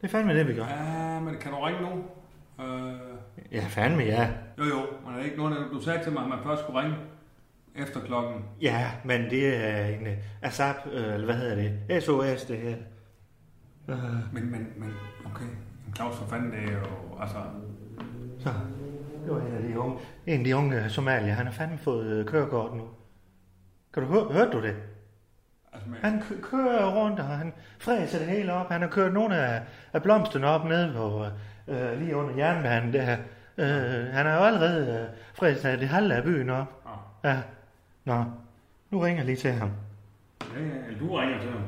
Det er fandme det, vi gør.
Ja, men kan du ringe nu? Øh,
Ja, fandme ja.
jo jo, men er det ikke noget, du sagde til mig, at man først skulle ringe efter klokken?
Ja, men det er en uh, ASAP, uh, eller hvad hedder det? SOS, det her. Uh,
Men, men, men, okay. Men Claus, for fanden, det er jo, altså...
så. Det var en af de unge, en af de unge øh, somalier. Han har fandme fået uh, kørekort nu. Kan du høre, hørte du det?
altså med,
Han kø- kører rundt, og han fræser det hele op. Han har kørt nogle af, af blomsterne op nede på, øh, lige under jernbanen der. Øh, han har jo allerede øh, fræset det halve af byen op.
ah,
Ja. Nå, nu ringer jeg lige til ham.
ja, ja, eller du ringer til ham.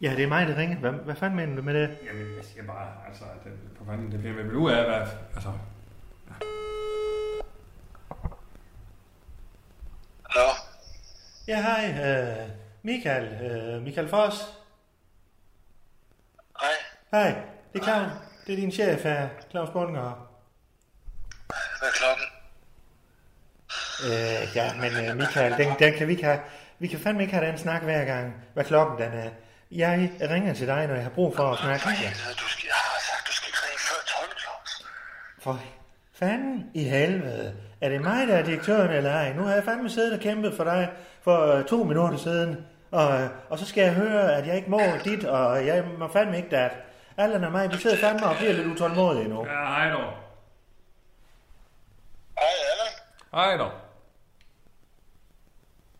Ja, det er mig, der ringer. Hvad, hvad fanden mener du med det?
Jamen, jeg siger bare, altså, det, for fanden, det bliver med nu af, hvad, altså...
Hallo?
Ja, hej. Øh, Michael. Øh, Michael Foss.
Hej.
Hej. Det er Claus. Det er din chef her, Claus Bundgaard.
Hvad er klokken?
Øh, ja, men øh, Michael, den, den kan vi ikke have. Vi kan fandme ikke have den snak hver gang, hvad klokken den er. Jeg ringer til dig, når jeg har brug for at snakke med dig.
Du skal, jeg har sagt, du skal ikke ringe før 12, Claus.
For fanden i helvede. Er det mig, der er direktøren eller ej? Nu har jeg fandme siddet og kæmpet for dig for øh, to minutter siden. Og, øh, og så skal jeg høre, at jeg ikke må dit, og jeg må fandme ikke dat. Allan og mig, vi sidder fandme og bliver lidt utålmodige nu.
Ja, hej dog.
Hej, Allan.
Hej dog.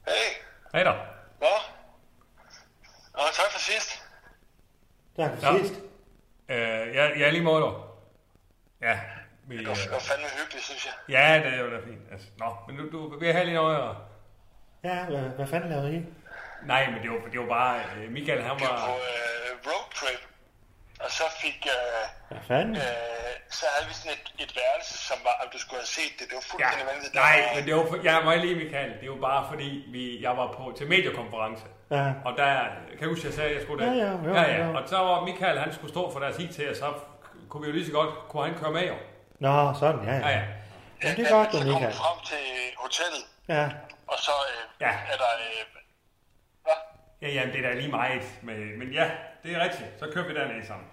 Hey.
Hej dog.
Nå? Nå, tak for sidst.
Tak for
Ja.
sidst.
Øh, ja, ja, lige måde dog. Ja, vi, øh,
Det var fandme hyggeligt, synes jeg.
ja, det er jo da fint. Altså, nå, men nu, du vil have lige noget, og...
Ja, hvad, hvad fanden laver I?
Nej, men det var, det var bare, øh, Michael, han
Vi var på
var...
øh, roadtrip, og så fik... Øh,
Hvad fanden?
øh, så havde vi sådan et, et værelse, som var, om du skulle have set det. Det var
Ja,
fuldstændig vanvittigt. Øh,
nej, men det var, for, ja, må jeg lige, Michael, det var bare fordi, vi, jeg var på til mediekonference.
Ja.
Og der, kan jeg huske, jeg sagde, at jeg skulle der?
Ja, ja, jo,
ja, ja.
jo.
Og så var Michael, han skulle stå for deres IT, og så kunne vi jo lige så godt, kunne han køre med jo.
Nå, sådan, ja.
Ja,
ja.
ja.
Jamen, det er godt,
så
du,
kom vi
Michael.
frem til hotellet,
Ja.
og så øh,
Ja.
er der... Øh, hvad?
Ja, ja, det er da lige meget, men, men ja, det er rigtigt. Så kører vi derned sammen.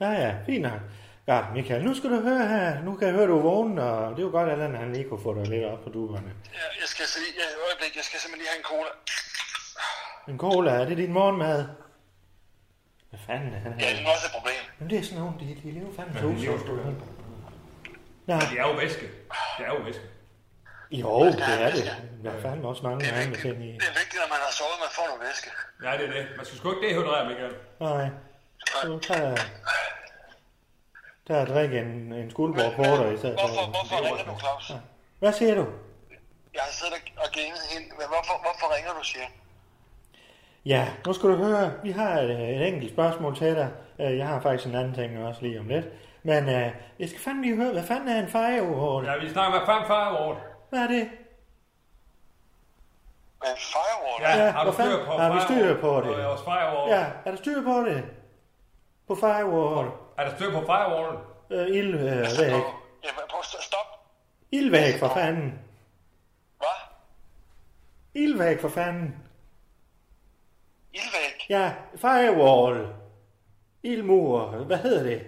Ja, ja, fint nok. Ja, Michael, nu skal du høre her. Nu kan jeg høre, du er vågen, og det er jo godt, at han lige kunne få dig lidt op på duberne.
Ja, jeg skal se, ja, et øjeblik, jeg skal simpelthen lige have en cola.
En cola, er det din morgenmad? Hvad fanden er han
Ja,
her?
det er også et problem.
Jamen, det er sådan nogle, de, de lever fandme
Ja,
to.
de lever sgu da.
Nå,
Det er jo væske. Det er jo væske.
jo, det er det. Der er fandme også mange andre ting i.
Det er vigtigt, når man har sovet, man får noget væske.
Ja, det er det. Man skal sgu ikke dehydrere, Michael.
Nej, så tager jeg... Der er at drikke en, en skuldborg porter i stedet
Hvorfor,
for...
hvorfor ringer du, Claus?
Hvad siger du?
Jeg har siddet og- og genet hende, men hvorfor, hvorfor ringer du, siger jeg?
Ja, nu skal du høre, vi har et, øh, et enkelt spørgsmål til dig. Øh, Jeg har faktisk en anden ting også lige om lidt. Men øh, jeg skal fandme lige høre, hvad fanden er en firewall?
Ja, vi snakker med fem firewall.
Hvad er det?
Men firewall?
Ja,
Ja,
har du
hvor fanden-
styr på
har vi styr
firewall?
på det?
Og vores firewall.
Ja, er der styr på det? På firewall?
Er der styr på firewallen?
Øh, ild, øh, væk.
Ja, men prøv, at- stop.
Ild væk for fanden.
Hvad?
Ild væk for fanden.
Ildvæg?
Ja, firewall. Ildmur. Hvad hedder det?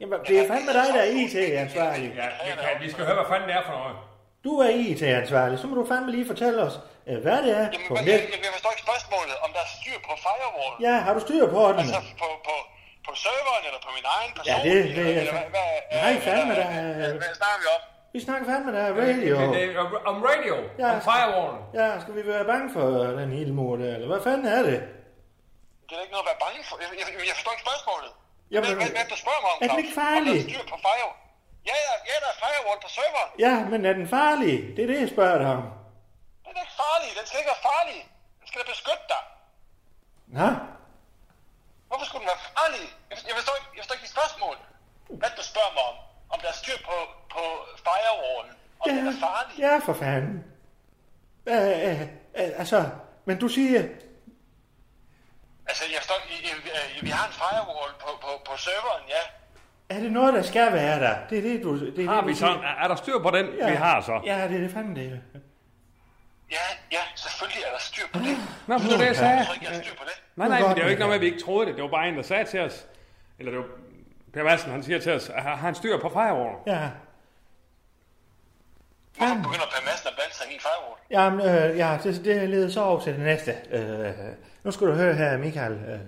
Jamen, det er fandme dig, der er IT-ansvarlig.
Ja, Michael, vi skal høre, hvad fanden det er for noget.
Du er IT-ansvarlig, så må du fandme lige fortælle os, øh, hvad det er
Jamen,
på
jeg,
net.
jeg, jeg forstår ikke spørgsmålet, om der er styr på firewall.
Ja, har du styr på den?
Altså på, på, på serveren, eller på min egen person?
det- det-
eller- eller
jeg-
hvad- hvad-
Nej,
eller-
fandme da.
hvad- Hvad snakker vi om?
Vi snakker fandme, der er radio.
Det, det, er om radio.
Ja.
Om firewallen.
Ja, skal vi være bange for øh, den ildmur der, eller hvad fanden er det?
Det er da ikke noget at være bange for. Jeg, jeg, jeg forstår ikke spørgsmålet.
Jamen,
hvad, hvad, hvad, du spørger mig om,
er den
Claus?
ikke farlig?
Om der er styr på firewall? Ja, ja, ja, der er firewall på serveren.
Ja, men er den farlig? Det er det, jeg spørger dig om.
Den er da ikke farlig. Den skal ikke være farlig. Den skal da beskytte dig.
Nå?
Hvorfor skulle den være farlig? Jeg forstår, jeg forstår ikke, jeg forstår ikke dit spørgsmål. Hvad er det, du spørger mig om? Om der er styr på, på firewall?
farlig.
Ja, for fanden. Øh, øh, øh, altså, men du siger,
Altså, jeg står, I, I, I, vi har en firewall på, på, på serveren, ja.
er det noget, der skal være der? Det er det, du... Det er
Har
det, du
vi så,
siger.
er er der styr på den, ja. vi har så?
Ja, det er det fanden det.
Ja, ja, selvfølgelig er der styr på det.
Nå, men det var det, jeg
Jeg
sagde.
tror ikke, jeg har styr på det.
Nej, nej,
godt,
men det er jo
Michael.
ikke noget med, at vi ikke troede det. Det var bare en, der sagde til os, eller det var Per Madsen, han siger til os, at har har han styr på firewall?
Ja,
Hvorfor begynder Per Madsen at blande sig i min firewall?
Jamen, øh, ja, det, det leder så over til det næste. Øh, nu skal du høre her, Michael, øh,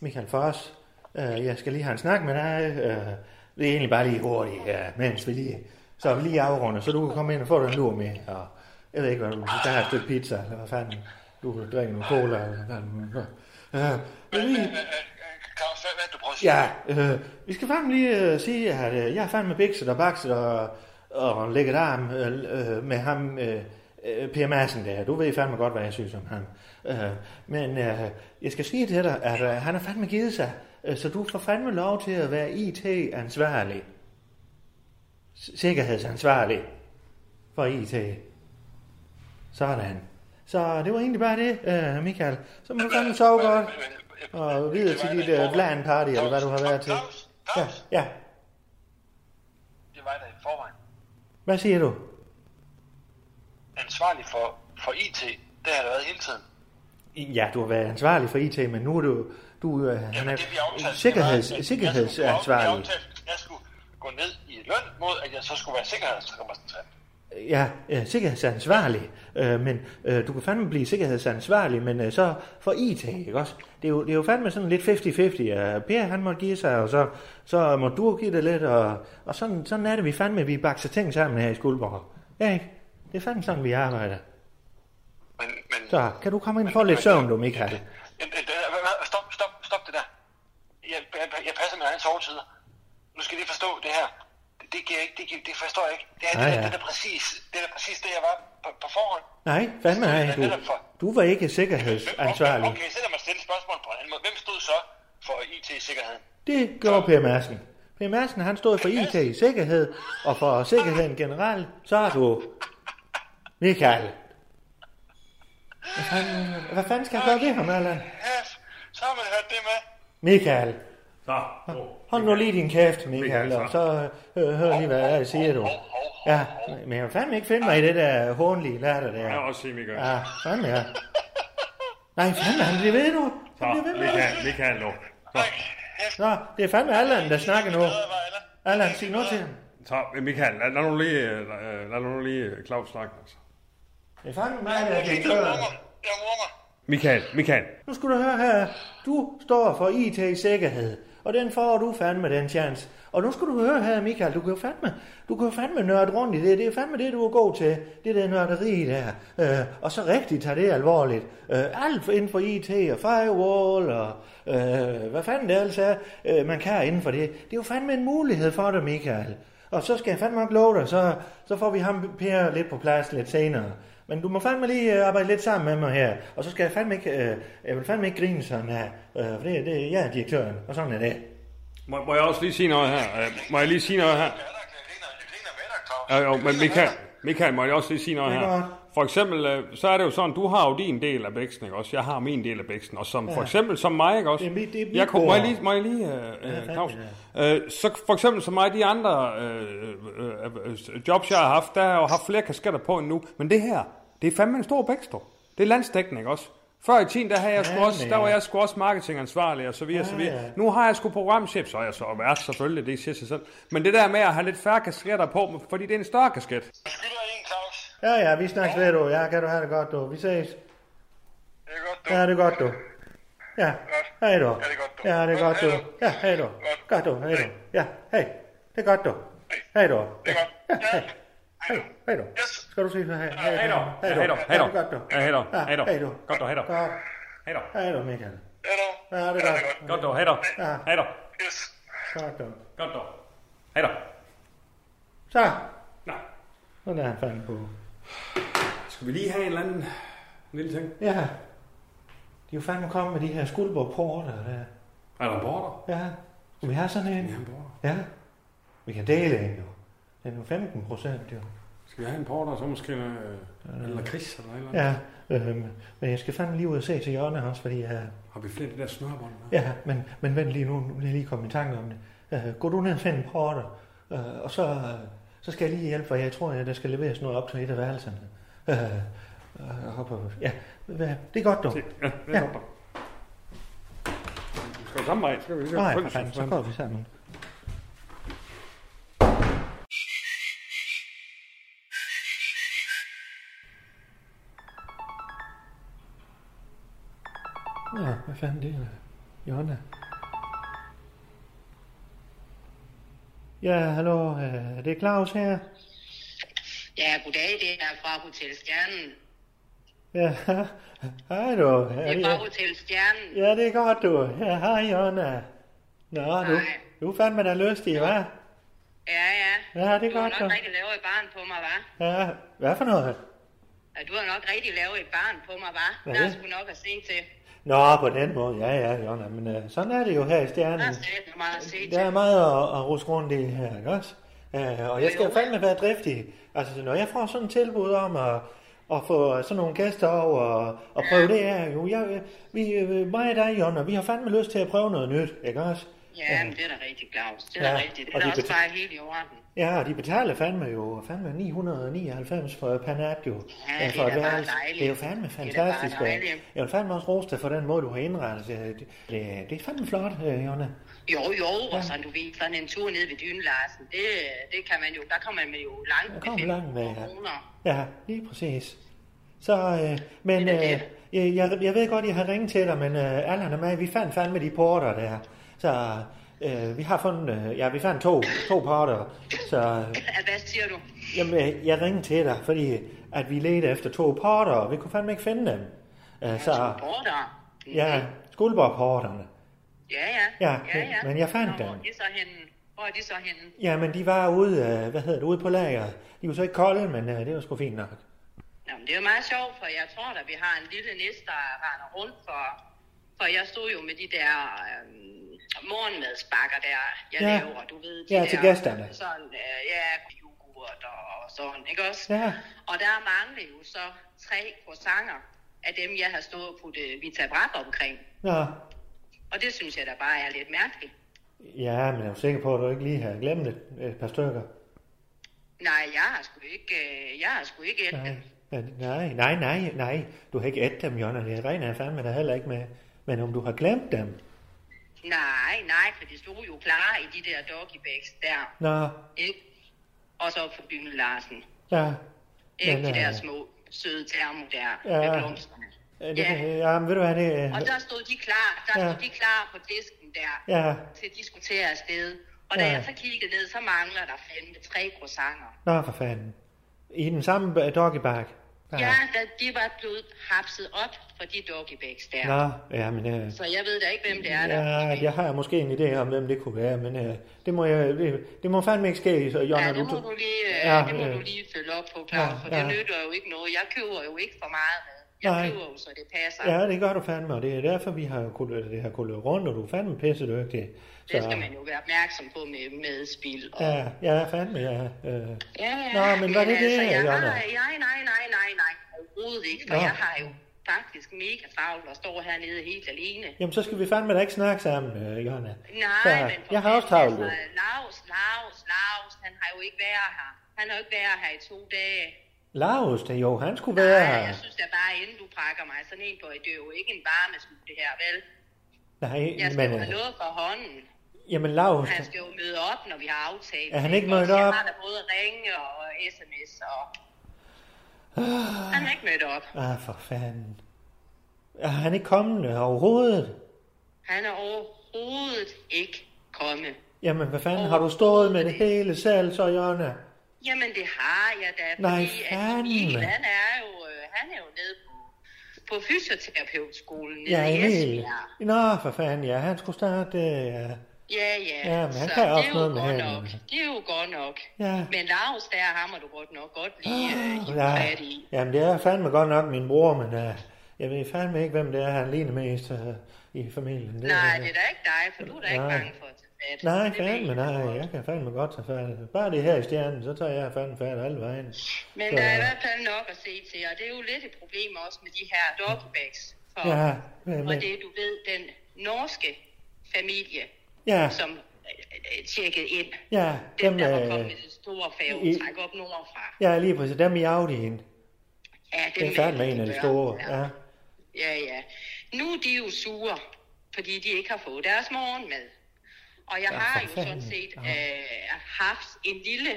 Michael Foss. Øh, jeg skal lige have en snak med dig. Øh, det er egentlig bare lige hurtigt, øh, mens vi lige, så vi lige afrunder, så du kan komme ind og få dig en lur med. Og jeg ved ikke, hvad du der er et stykke pizza, eller hvad fanden. Du kan drikke noget cola, eller hvad fanden. Øh, men
Men,
lige,
øh, øh, øh, Claus, hvad hvad er det, du prøver at sige?
Ja, øh, vi skal fandme lige øh, sige, at øh, jeg er fandme bikset og bakset og, og lægget arm øh, øh, med ham, øh, øh, Per Madsen der. Du ved fandme godt, hvad jeg synes om ham. Øh, men øh, jeg skal sige til dig, at øh, han har fandme givet sig, øh, så du får fandme lov til at være IT-ansvarlig. S- Sikkerhedsansvarlig for IT. Sådan. Så det var egentlig bare det, øh, Michael. Så må du fandme sove godt. Og videre til dit uh, LAN-party, eller hvad du har været til.
Claus,
Ja,
Claus,
ja.
det var der i forvejen.
Hvad siger du?
Ansvarlig for, for IT, det har det været hele tiden.
Ja, du har været ansvarlig for IT, men nu er du... du uh, han er
Jamen, det vi aftalte, det var,
sikkerheds,
at Jeg
sikkerhedsansvarlig.
skulle, vi aftalte, at jeg skulle gå ned i løn mod, at jeg så skulle være sikkerhedsrepræsentant.
Ja, uh, sikkerhedsansvarlig. Uh, men uh, du kan fandme blive sikkerhedsansvarlig, men uh, så for IT, ikke også? Det er jo, det er jo fandme sådan lidt 50-50. Uh, per, han må give sig, og så, så må du give det lidt, og, og sådan, sådan er det, vi fandme, vi bakser ting sammen her i Skuldborg. Ja, ikke? Det er fandme sådan, vi arbejder.
Men, men,
Så kan du komme ind og få lidt søvn, du, Michael?
men, men, det- hvad- hvad- stop, stop, stop det der. Jeg, jeg, jeg passer mine egne sovetider. Nu skal I lige forstå det her. Det, det, giver ikke, det, giver, det forstår jeg ikke. Det, her,
Nej,
det, der,
ja.
det, er da præcis, det er da præcis det, jeg var på, på forhånd.
Nej, fandme nej. Du, du var ikke sikkerhedsansvarlig.
Okay, okay, så lad mig stille spørgsmålet på en anden måde. Hvem stod så for IT-sikkerheden?
Det gjorde Per Madsen. Per Madsen, han stod for IT i sikkerhed, og for sikkerheden generelt, så er du Michael. Hvad fanden, hvad fanden skal jeg gøre ved ham, Allan?
Ja, så har man hørt det med.
Michael,
Så,
hold nu lige din kæft, Michael, og så øh, hør lige, hvad jeg siger, du. Ja, men jeg vil fandme ikke finde mig i det der hånlige latter
Jeg vil
der.
også sige, Michael. Ja.
Ja, fandme ja. Nej, fandme, han bliver ved nu.
Så,
Han bliver ved med det.
Michael, Michael, nu. Så,
Nå, det er fandme Allan, der snakker nu. Allan, sig noget til ham.
så øh, Michael, lad, lad nu lige, øh, lad, lad nu lige øh, Claus snakke. Altså.
Det er fandme mig, der
Jeg
er
mormer. Jeg mormer.
Michael, Michael.
Nu skal du høre her. Du står for IT-sikkerhed, og den får du fandme den chance. Og nu skal du høre her, Michael, du kan jo fandme, du kan jo fandme nørde rundt i det. Det er fandme det, du er god til. Det der nørderi der. Øh, og så rigtigt tager det alvorligt. Øh, alt inden for IT og firewall og øh, hvad fanden det altså er, øh, man kan inden for det. Det er jo fandme en mulighed for dig, Michael. Og så skal jeg fandme nok love dig, så, så får vi ham Per lidt på plads lidt senere. Men du må fandme lige øh, arbejde lidt sammen med mig her. Og så skal jeg fandme ikke, øh, jeg vil fandme ikke grine sådan her. Øh, for det, det, jeg er direktøren, og sådan er det.
Må, må jeg også lige sige noget her? Øh, Må jeg lige sige noget her?
Ja, der kan jeg grine. Jeg griner med dig, Claus.
Jo, jo, men Michael, Michael, må jeg også lige sige noget
Det er
her?
godt.
For eksempel, øh, så er det jo sådan, du har jo din del af bæksten, ikke også? Jeg har min del af bæksten, og som ja. for eksempel som mig, ikke også?
Det er mit- det er mit
jeg kunne, må jeg
bord.
lige, må jeg lige øh, øh,
fandme
Claus? Øh, så for eksempel som mig, de andre øh, øh, øh, jobs, jeg har haft, der har jeg jo haft flere kasketter på end nu. Men det her, det er fandme en stor bækstår. Det er landsdækkende, ikke også? Før i tiden, der, havde jeg sgu
Fandme,
også, der var
ja.
jeg sgu også marketingansvarlig og så videre, så videre.
Ja, ja.
Nu har jeg sgu programchef, så er jeg så vært selvfølgelig, det siger sig selv. Men det der med at have lidt færre kasketter på, fordi det er en større kasket.
Du skylder en, Claus.
Ja, ja, vi snakkes ved, du. Ja, kan du have det godt, du. Vi ses. Ja,
Det er godt, du.
det er godt, du. Ja, hej du.
det er godt, du.
Ja, det er godt, du.
Hej,
Ja, hej
du.
du. Godt, du. Hej du. Ja, hej. Det er godt, du. Hej du.
Det er godt.
Ja,
Ja.
hej. Hej, hej du.
Yes.
Skal du se hej.
Hej
Hej
då.
Hej
Hej då.
Ja, det
Hej då.
er godt, du.
Ja, hej då.
Ja,
Hej då.
Hej du.
Godt, du. Hej då.
Godt.
Hej då.
Hej du, Michael.
Ja, du.
Ja, det er godt.
Godt dog, hej då.
Ja.
Hej då.
Yes.
Godt, du.
Godt dog. Hej då.
Så.
Nå.
Sådan er han fandme på.
Skal vi lige have en eller anden lille ting?
Ja. De er jo fandme kommet med de her skuldborg porter der.
Er der en border?
Ja. Skal vi have sådan en?
Ja, en border.
Ja. Vi kan dele en jo. Den er jo 15 procent jo.
Skal vi have en porter, så måske en, øh, eller kris eller et eller andet?
Ja, øhm, men jeg skal fandme lige ud og se til hjørnet også, fordi øh, jeg...
Har vi flere af de der snørbånd? med?
Ja, men, men vent lige nu, nu er jeg lige kommet i tanke om det. Øh, gå du ned og find en porter, øh, og så, øh, så skal jeg lige hjælpe, for jeg tror, at der skal leveres noget op til et af værelserne. Øh, øh, hop, hop. Ja, hvad- det er godt, du.
Ja, det er godt. Skal du samme vej? Skal vi lige
Nej, for fanden, så går vi sammen. Nå, hvad fanden det er? Jonna? Ja, hallo, øh, det er Claus her.
Ja, goddag, det er fra Hotel Stjernen.
Ja, hej du. Ja,
Det er
ja.
fra Hotel Stjernen.
ja, det er godt du. Ja, hej Jonna. Nå, du,
Hej.
du er fandme da lystig, hva'?
Ja, ja.
Ja, det er
du
godt,
har
du.
nok rigtig lavet et barn på mig, var.
Ja, hvad for noget?
Du har nok rigtig lavet et barn på mig, var.
Hvad
Der
er
er
det?
sgu nok at se til.
Nå, på den måde, ja, ja, Jonna, men øh, sådan er det jo her i
Der er
Stjernen.
stadig meget at se til.
Der er meget at, at ruske rundt i her, ikke også? Øh, og jeg skal jo fandme være driftig. Altså, når jeg får sådan et tilbud om at, at få sådan nogle gæster over og, og prøve det her, jo, jeg, vi, øh, mig og dig, Jonna, vi har fandme lyst til at prøve noget nyt, ikke også?
Ja, men det er da rigtig, Claus. Det er da
Ja,
rigtigt. Det er
og
da
de
også
beta-
bare helt i orden.
Ja, og de betaler fandme jo fandme 999 for Panat jo.
Ja,
øh,
det er da
et
bare
værelse.
dejligt.
Det er jo fandme
Det er da bare
fantastisk. og
dejligt.
Jeg vil fandme også rose dig for den måde, du har indrettet det. Det, det er fandme flot, øh, Jonna.
Jo, jo, og sådan, du ved, sådan en tur ned ved Dyne Larsen, det, det kan man jo, der kommer man jo langt
Der
med
kommer
15
langt med, ja.
kroner.
Ja, lige præcis. Så, øh, men
Det er
øh,
da
jeg,
det.
jeg, jeg ved godt, jeg har ringet til dig, men øh, Allan og mig, vi fandt fandme de porter der. Så øh, vi har fundet, øh, ja, vi fandt to, to porter. Så øh,
Ja, Hvad siger du?
jamen, øh, jeg ringede til dig, fordi at vi ledte efter to porter, og vi kunne fandme ikke finde dem. Øh, så,
Border?
ja, skuldborgporterne.
Ja, ja.
Ja, men jeg fandt
Nå, Hvor
den.
er de så henne? Hvor er de så henne?
Jamen, de var ude, øh, hvad hedder det, ude på lageret. De var så ikke kolde, men øh, det var sgu fint nok.
Nå, men det er jo meget sjovt, for jeg tror, at vi har en lille næste, der render rundt, for, for jeg stod jo med de der øhm, morgenmadsbakker der, jeg
Ja.
ja. laver, du ved. De
Ja,
der,
til gæsterne.
Sådan, øh, ja, yoghurt og sådan, ikke også?
Ja.
Og der mangler jo så tre croissanter af dem, jeg har stået og puttet vitabrat omkring.
Nå,
Og det synes jeg da bare er lidt mærkeligt.
ja, men jeg er jo sikker på, at du ikke lige har glemt et, et par stykker.
Nej, jeg har sgu ikke, øh, jeg har sgu ikke et.
Nej, men- nej, nej, nej, nej. Du har ikke ædt dem, Jonna. Det regner jeg fandme da heller ikke med. Men om du har glemt dem?
Nej, nej, for de stod jo klar i de der doggybags der,
Nå,
ikke? Og så på Dyne Larsen.
ja.
Ikke
Men,
de der
øh,
små søde termo der
ja.
med blomsterne.
Øh, Det,
Ja.
ja, men ved du hvad, det...
Og der stod de klar, der
Ja.
stod de klar på disken der,
Ja,
til de skulle til afsted. Og da
Ja.
jeg så kiggede ned, så mangler der fandme tre croissanter.
nå for fanden. I den samme øh, doggybag?
Ja, da de var blevet hapset op fra de doggybags der.
Nå, ja, men... Øh,
Så jeg ved da ikke, hvem det er, der
ja, jeg har måske en idé om, hvem det kunne være, men øh, det må jeg... Det, det må fandme ikke ske, så Jonna...
Ja, det må du lige, øh,
Ja,
det må
øh.
du lige følge op på, Claus,
Ja,
for
ja.
det nytter jo ikke noget. Jeg køber jo ikke for meget mad. Jeg
Nej.
køber jo, så det passer.
Ja, det gør du fandme, og det er derfor, vi har kunnet, det har kunnet løbe rundt, og du er fandme pissedygtig.
Det skal man jo være opmærksom på med, med spil. Og...
Ja, ja, fandme, ja. Øh,
Ja, ja. altså,
Nå, men var det det,
jeg har,
Jonna?
nej, nej, nej, nej, nej, overhovedet ikke, for
Nå.
jeg har jo faktisk mega travlt og står hernede helt alene.
Jamen, så skal vi fandme da ikke snakke sammen, øh,
Nej,
Jonna. så,
men for
Jeg har også
fanden,
travlt, jo.
altså, Lars, Lars, Lars, han har jo ikke været her. Han har jo ikke været her i to dage.
Lars, det jo, han skulle være
Nej, altså, jeg
her.
synes da bare, inden du pakker mig sådan en på, det er jo ikke en varmesmule det her, vel?
Nej,
Jeg skal
men...
jo
Øh,
have noget for hånden.
jamen, Lars,
Han skal jo møde op, når vi har aftalt.
Er han
det,
ikke mødt
også? Jeg
op?
har da både ringe og sms og... Han er ikke mødt op.
ah, for fanden. Er han ikke kommet overhovedet?
Han er overhovedet ikke kommet.
Jamen, hvad fanden, har du stået med det hele selv, så, Jonna?
Jamen, det har jeg da,
Nej,
fordi at
fandme.
Emil, han er jo, øh, han er jo nede på, på fysioterapeutskolen nede
Ja,
i
Emil.
Esbjerg.
Nå, for fanden, ja, han skulle starte, øh, ja.
Ja, ja.
Ja, men han
så
kan
det
også
er jo
noget med
godt
hænderne.
nok. Det er jo godt nok.
Ja. Ah,
Men Lars, der hammer du godt nok godt lige øh, hive
Ja,
fat i.
jamen det er fandme godt nok min bror, men uh, jeg ved fandme ikke, hvem det er, han ligner mest uh, i familien. Det,
Nej,
er-
det er da ikke dig, for du er da ikke
Nej.
bange for at tage fat.
Nej,
Det
fandme
ved jeg
nej.
godt.
Jeg kan fandme godt tage fat. Bare det her i stjernen, så tager jeg fandme fat alle vejen.
Men
Så-
der er i hvert fald nok at se til, og det er jo lidt et problem også med de her dobbeltbacks. For,
Ja, hvad
og
med-
det er, du ved, den norske familie,
Ja.
som øh, øh, tjekkede ind.
Ja,
dem,
dem,
der var
øh,
kommet med det store færgetræk op nordfra.
Ja, lige præcis. Dem i Audi'en.
Ja,
Det er fandme en af de store. Ja.
Ja, ja. Nu er de jo sure, fordi de ikke har fået deres morgenmad. Og jeg
Ja,
har
for
jo sådan
fanden.
set øh, haft en lille,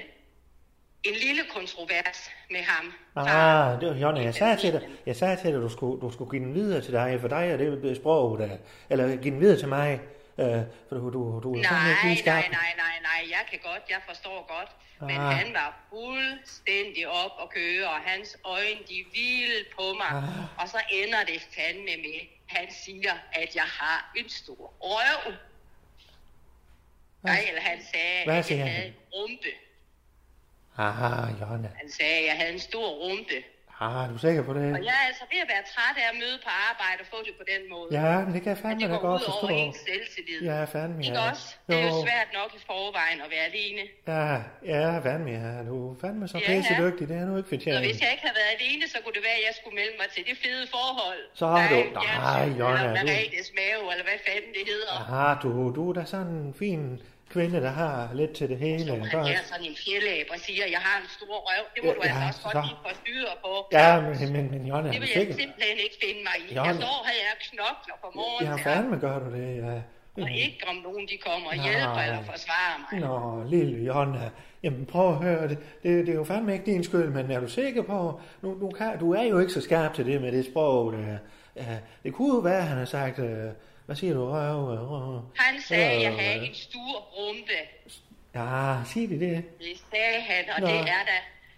en lille kontrovers med ham.
Ah, det var Jonna. Jeg sagde til dig, jeg sagde til dig du, skulle, du skulle give den videre til dig, for dig er det sprog, der... Eller give den videre til mig, øh, for du, du, du er fandme ikke
Nej,
lige skarp.
nej, nej, nej, nej, jeg kan godt, jeg forstår godt. Men
Ah.
han var fuldstændig op og køre, og hans øjne, de hvilede på mig.
Ah.
Og så ender det fandme med, han siger, at jeg har en stor røv. Nej, eller han sagde,
Hvad
at
siger
jeg
han?
havde en rumpe.
Ah, Jonna.
Han sagde, at jeg havde en stor rumpe.
Ah, du er sikker på
Og
det?
jeg er altså ved at være træt af at møde på arbejde og få det på den måde.
Ja, men det kan jeg fandme
At
da
det går
godt
ud over
forstå.
ens selvtillid.
Ja, fandme,
Ikke
ja.
også? Det er jo
Jo.
svært nok i forvejen at være alene.
Ja, ja, fandme, ja. Du er fandme så
Ja, ja.
pisse dygtig. Det har du ikke
Så
fortjent.
hvis jeg ikke havde været alene, så kunne det være, at jeg skulle melde mig til det fede forhold.
Så har du...
jeg er
Nej,
syg,
Jonna.
Eller
Du...
Margrethes mave, eller hvad fanden det hedder.
Aha, du, du er da sådan en fin kvinde, der har lidt til det hele.
Han
Bare-
er sådan en fjellæb og siger, at jeg har en stor røv. Det må
Ja,
du altså
ja,
også godt
så-
lige få styre på.
Ja, men, men, men
det
Jonna, er du
vil jeg
sikker?
simpelthen ikke finde mig i. Jeg
Jonna.
står her og knokler på morgenen.
Ja,
her.
fandme gør du det, ja.
Og ikke om nogen de kommer og
Nej.
hjælper eller forsvarer mig.
Nå, lille Jonna. Jamen prøv at høre, det, det, det er jo fandme ikke din skyld, men er du sikker på, nu, nu kan, du er jo ikke så skarp til det med det sprog, det, ja, det kunne jo være, han har sagt, øh, hvad siger du, røv, øh, røv.
Han sagde, at jeg
Øh,
havde en stor rumpe.
Ja, sig det det.
Det sagde han, og
Nå.
det er da...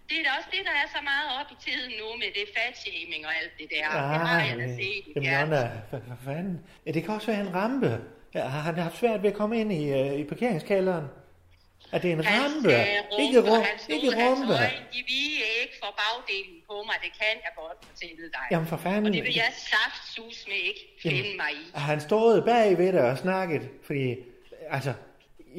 Det er da også det, der er så meget op i tiden nu med det fatshaming og alt det der. det har jeg da
øh,
set. i
Jamen
fjernsyn.
Jonna, hvad, hvad fanden? Ja, det kan også være en rampe. Ja, har han haft svært ved at komme ind i, øh, i parkeringskælderen? Er det en
Han
rampe?
sagde øh, rumpe,
ikke
og han
rumpe,
stod,
ikke
hans
rumpe.
øjne, de vige ikke for bagdelen på mig. Det kan jeg godt fortælle dig.
Jamen, for fanden.
Og det vil jeg saft sus med ikke finde mig i.
Og han stod bag ved dig og snakket, fordi, altså,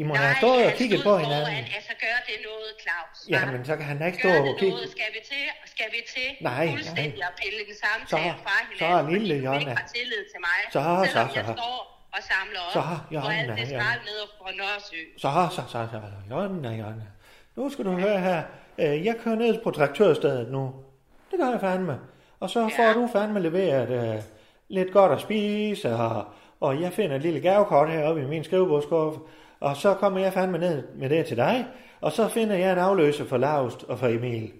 I må have stået og
han
kigget
stod
på hinanden.
foran, altså gør det noget, Claus. hva'?
Jamen, så kan han da ikke stå
Gør
og
det
kigge.
noget, skal vi til, skal vi til
Nej,
fuldstændig
nej.
at pille en samtale
Så-
fra
så
hinanden,
lille
fordi du
Jonna.
ikke har tillid til mig,
Så-
selvom
så-
jeg
så.
står og samler op,
Så,
og alt
Jonna,
det
Jonna.
skrald ned fra Nørresø.
Så, så, så, så, Jonna, Jonna. Nu skal du høre her. Øh, Jeg kører ned på traktørstedet nu. Det gør jeg fandme. Og så får du fandme leveret øh, lidt godt at spise, og, og jeg finder et lille gavekort heroppe i min skrivebordskuffe, og så kommer jeg fandme ned med det til dig, og så finder jeg en afløser for Laust og for Emil.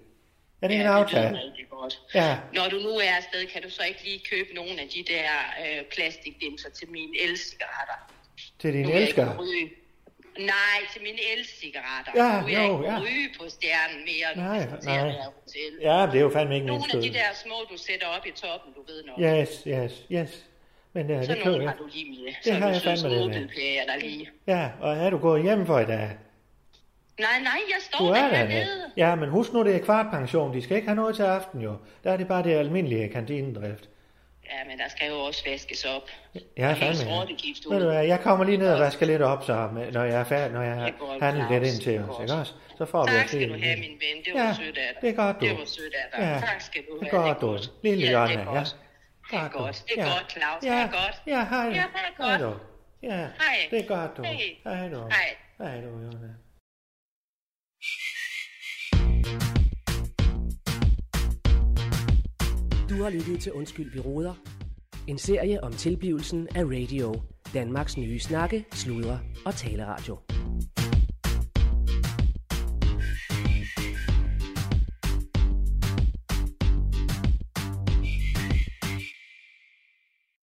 Er det en
Det
aftale?
lyder rigtig godt.
Ja.
Når du nu er afsted, kan du så ikke lige købe nogle af de der øh, plastikdimser til mine elcigaretter?
Til din
Nu kan jeg ikke
elsker?
ryge. Nej, til mine elcigaretter.
Ja,
nu er jeg
jo,
ikke
ja.
ryge på stjernen mere. nu
Nej,
skal jeg
nej.
være hotel.
Ja, men det er jo fandme ikke min
Nogle af de
skyld.
der små, du sætter op i toppen, du ved nok.
Yes, yes, yes. Men ja,
så
det kører
nogle
jeg.
har du lige med.
Det har jeg fandme det med.
med. lige.
Ja, og er du gået hjem for i dag?
Nej, nej, jeg står
Du er
der
der, ja.
hernede.
ja, men husk nu, det er kvartpension. De skal ikke have noget til aften, jo. Der er det bare det almindelige kantinedrift.
Ja, men der skal jo også vaskes op.
Ja,
Og helst
fandme.
rottegift
Ja. Ved
ud.
du hvad, jeg kommer lige ned og vasker lidt op, så, med- når jeg er færdig, når jeg
Det
har
er godt,
handlet lidt
Claus.
ind til
Det er
os,
godt.
ikke også? Så får vi
Tak
os
skal
lige
du
en
have,
lille-
min ven. Det var
Ja,
sødt af dig.
det er godt, du.
Det var sødt af dig.
Ja,
Tak skal du
det
have.
er godt, du. Lille
ja,
Jonna,
det er
ja.
godt. Det er
Godt, du.
godt. Det er
Ja.
godt, Claus.
Ja.
Det er godt.
Ja, hej du.
Ja, det er
Hej
godt.
du. Ja,
Hej.
det er godt, du.
Hej.
Hej du.
Hej.
Hej du, Jonna.
Du har lyttet til Undskyld, vi råder. En serie om tilblivelsen af radio. Danmarks nye snakke, sludre og taleradio.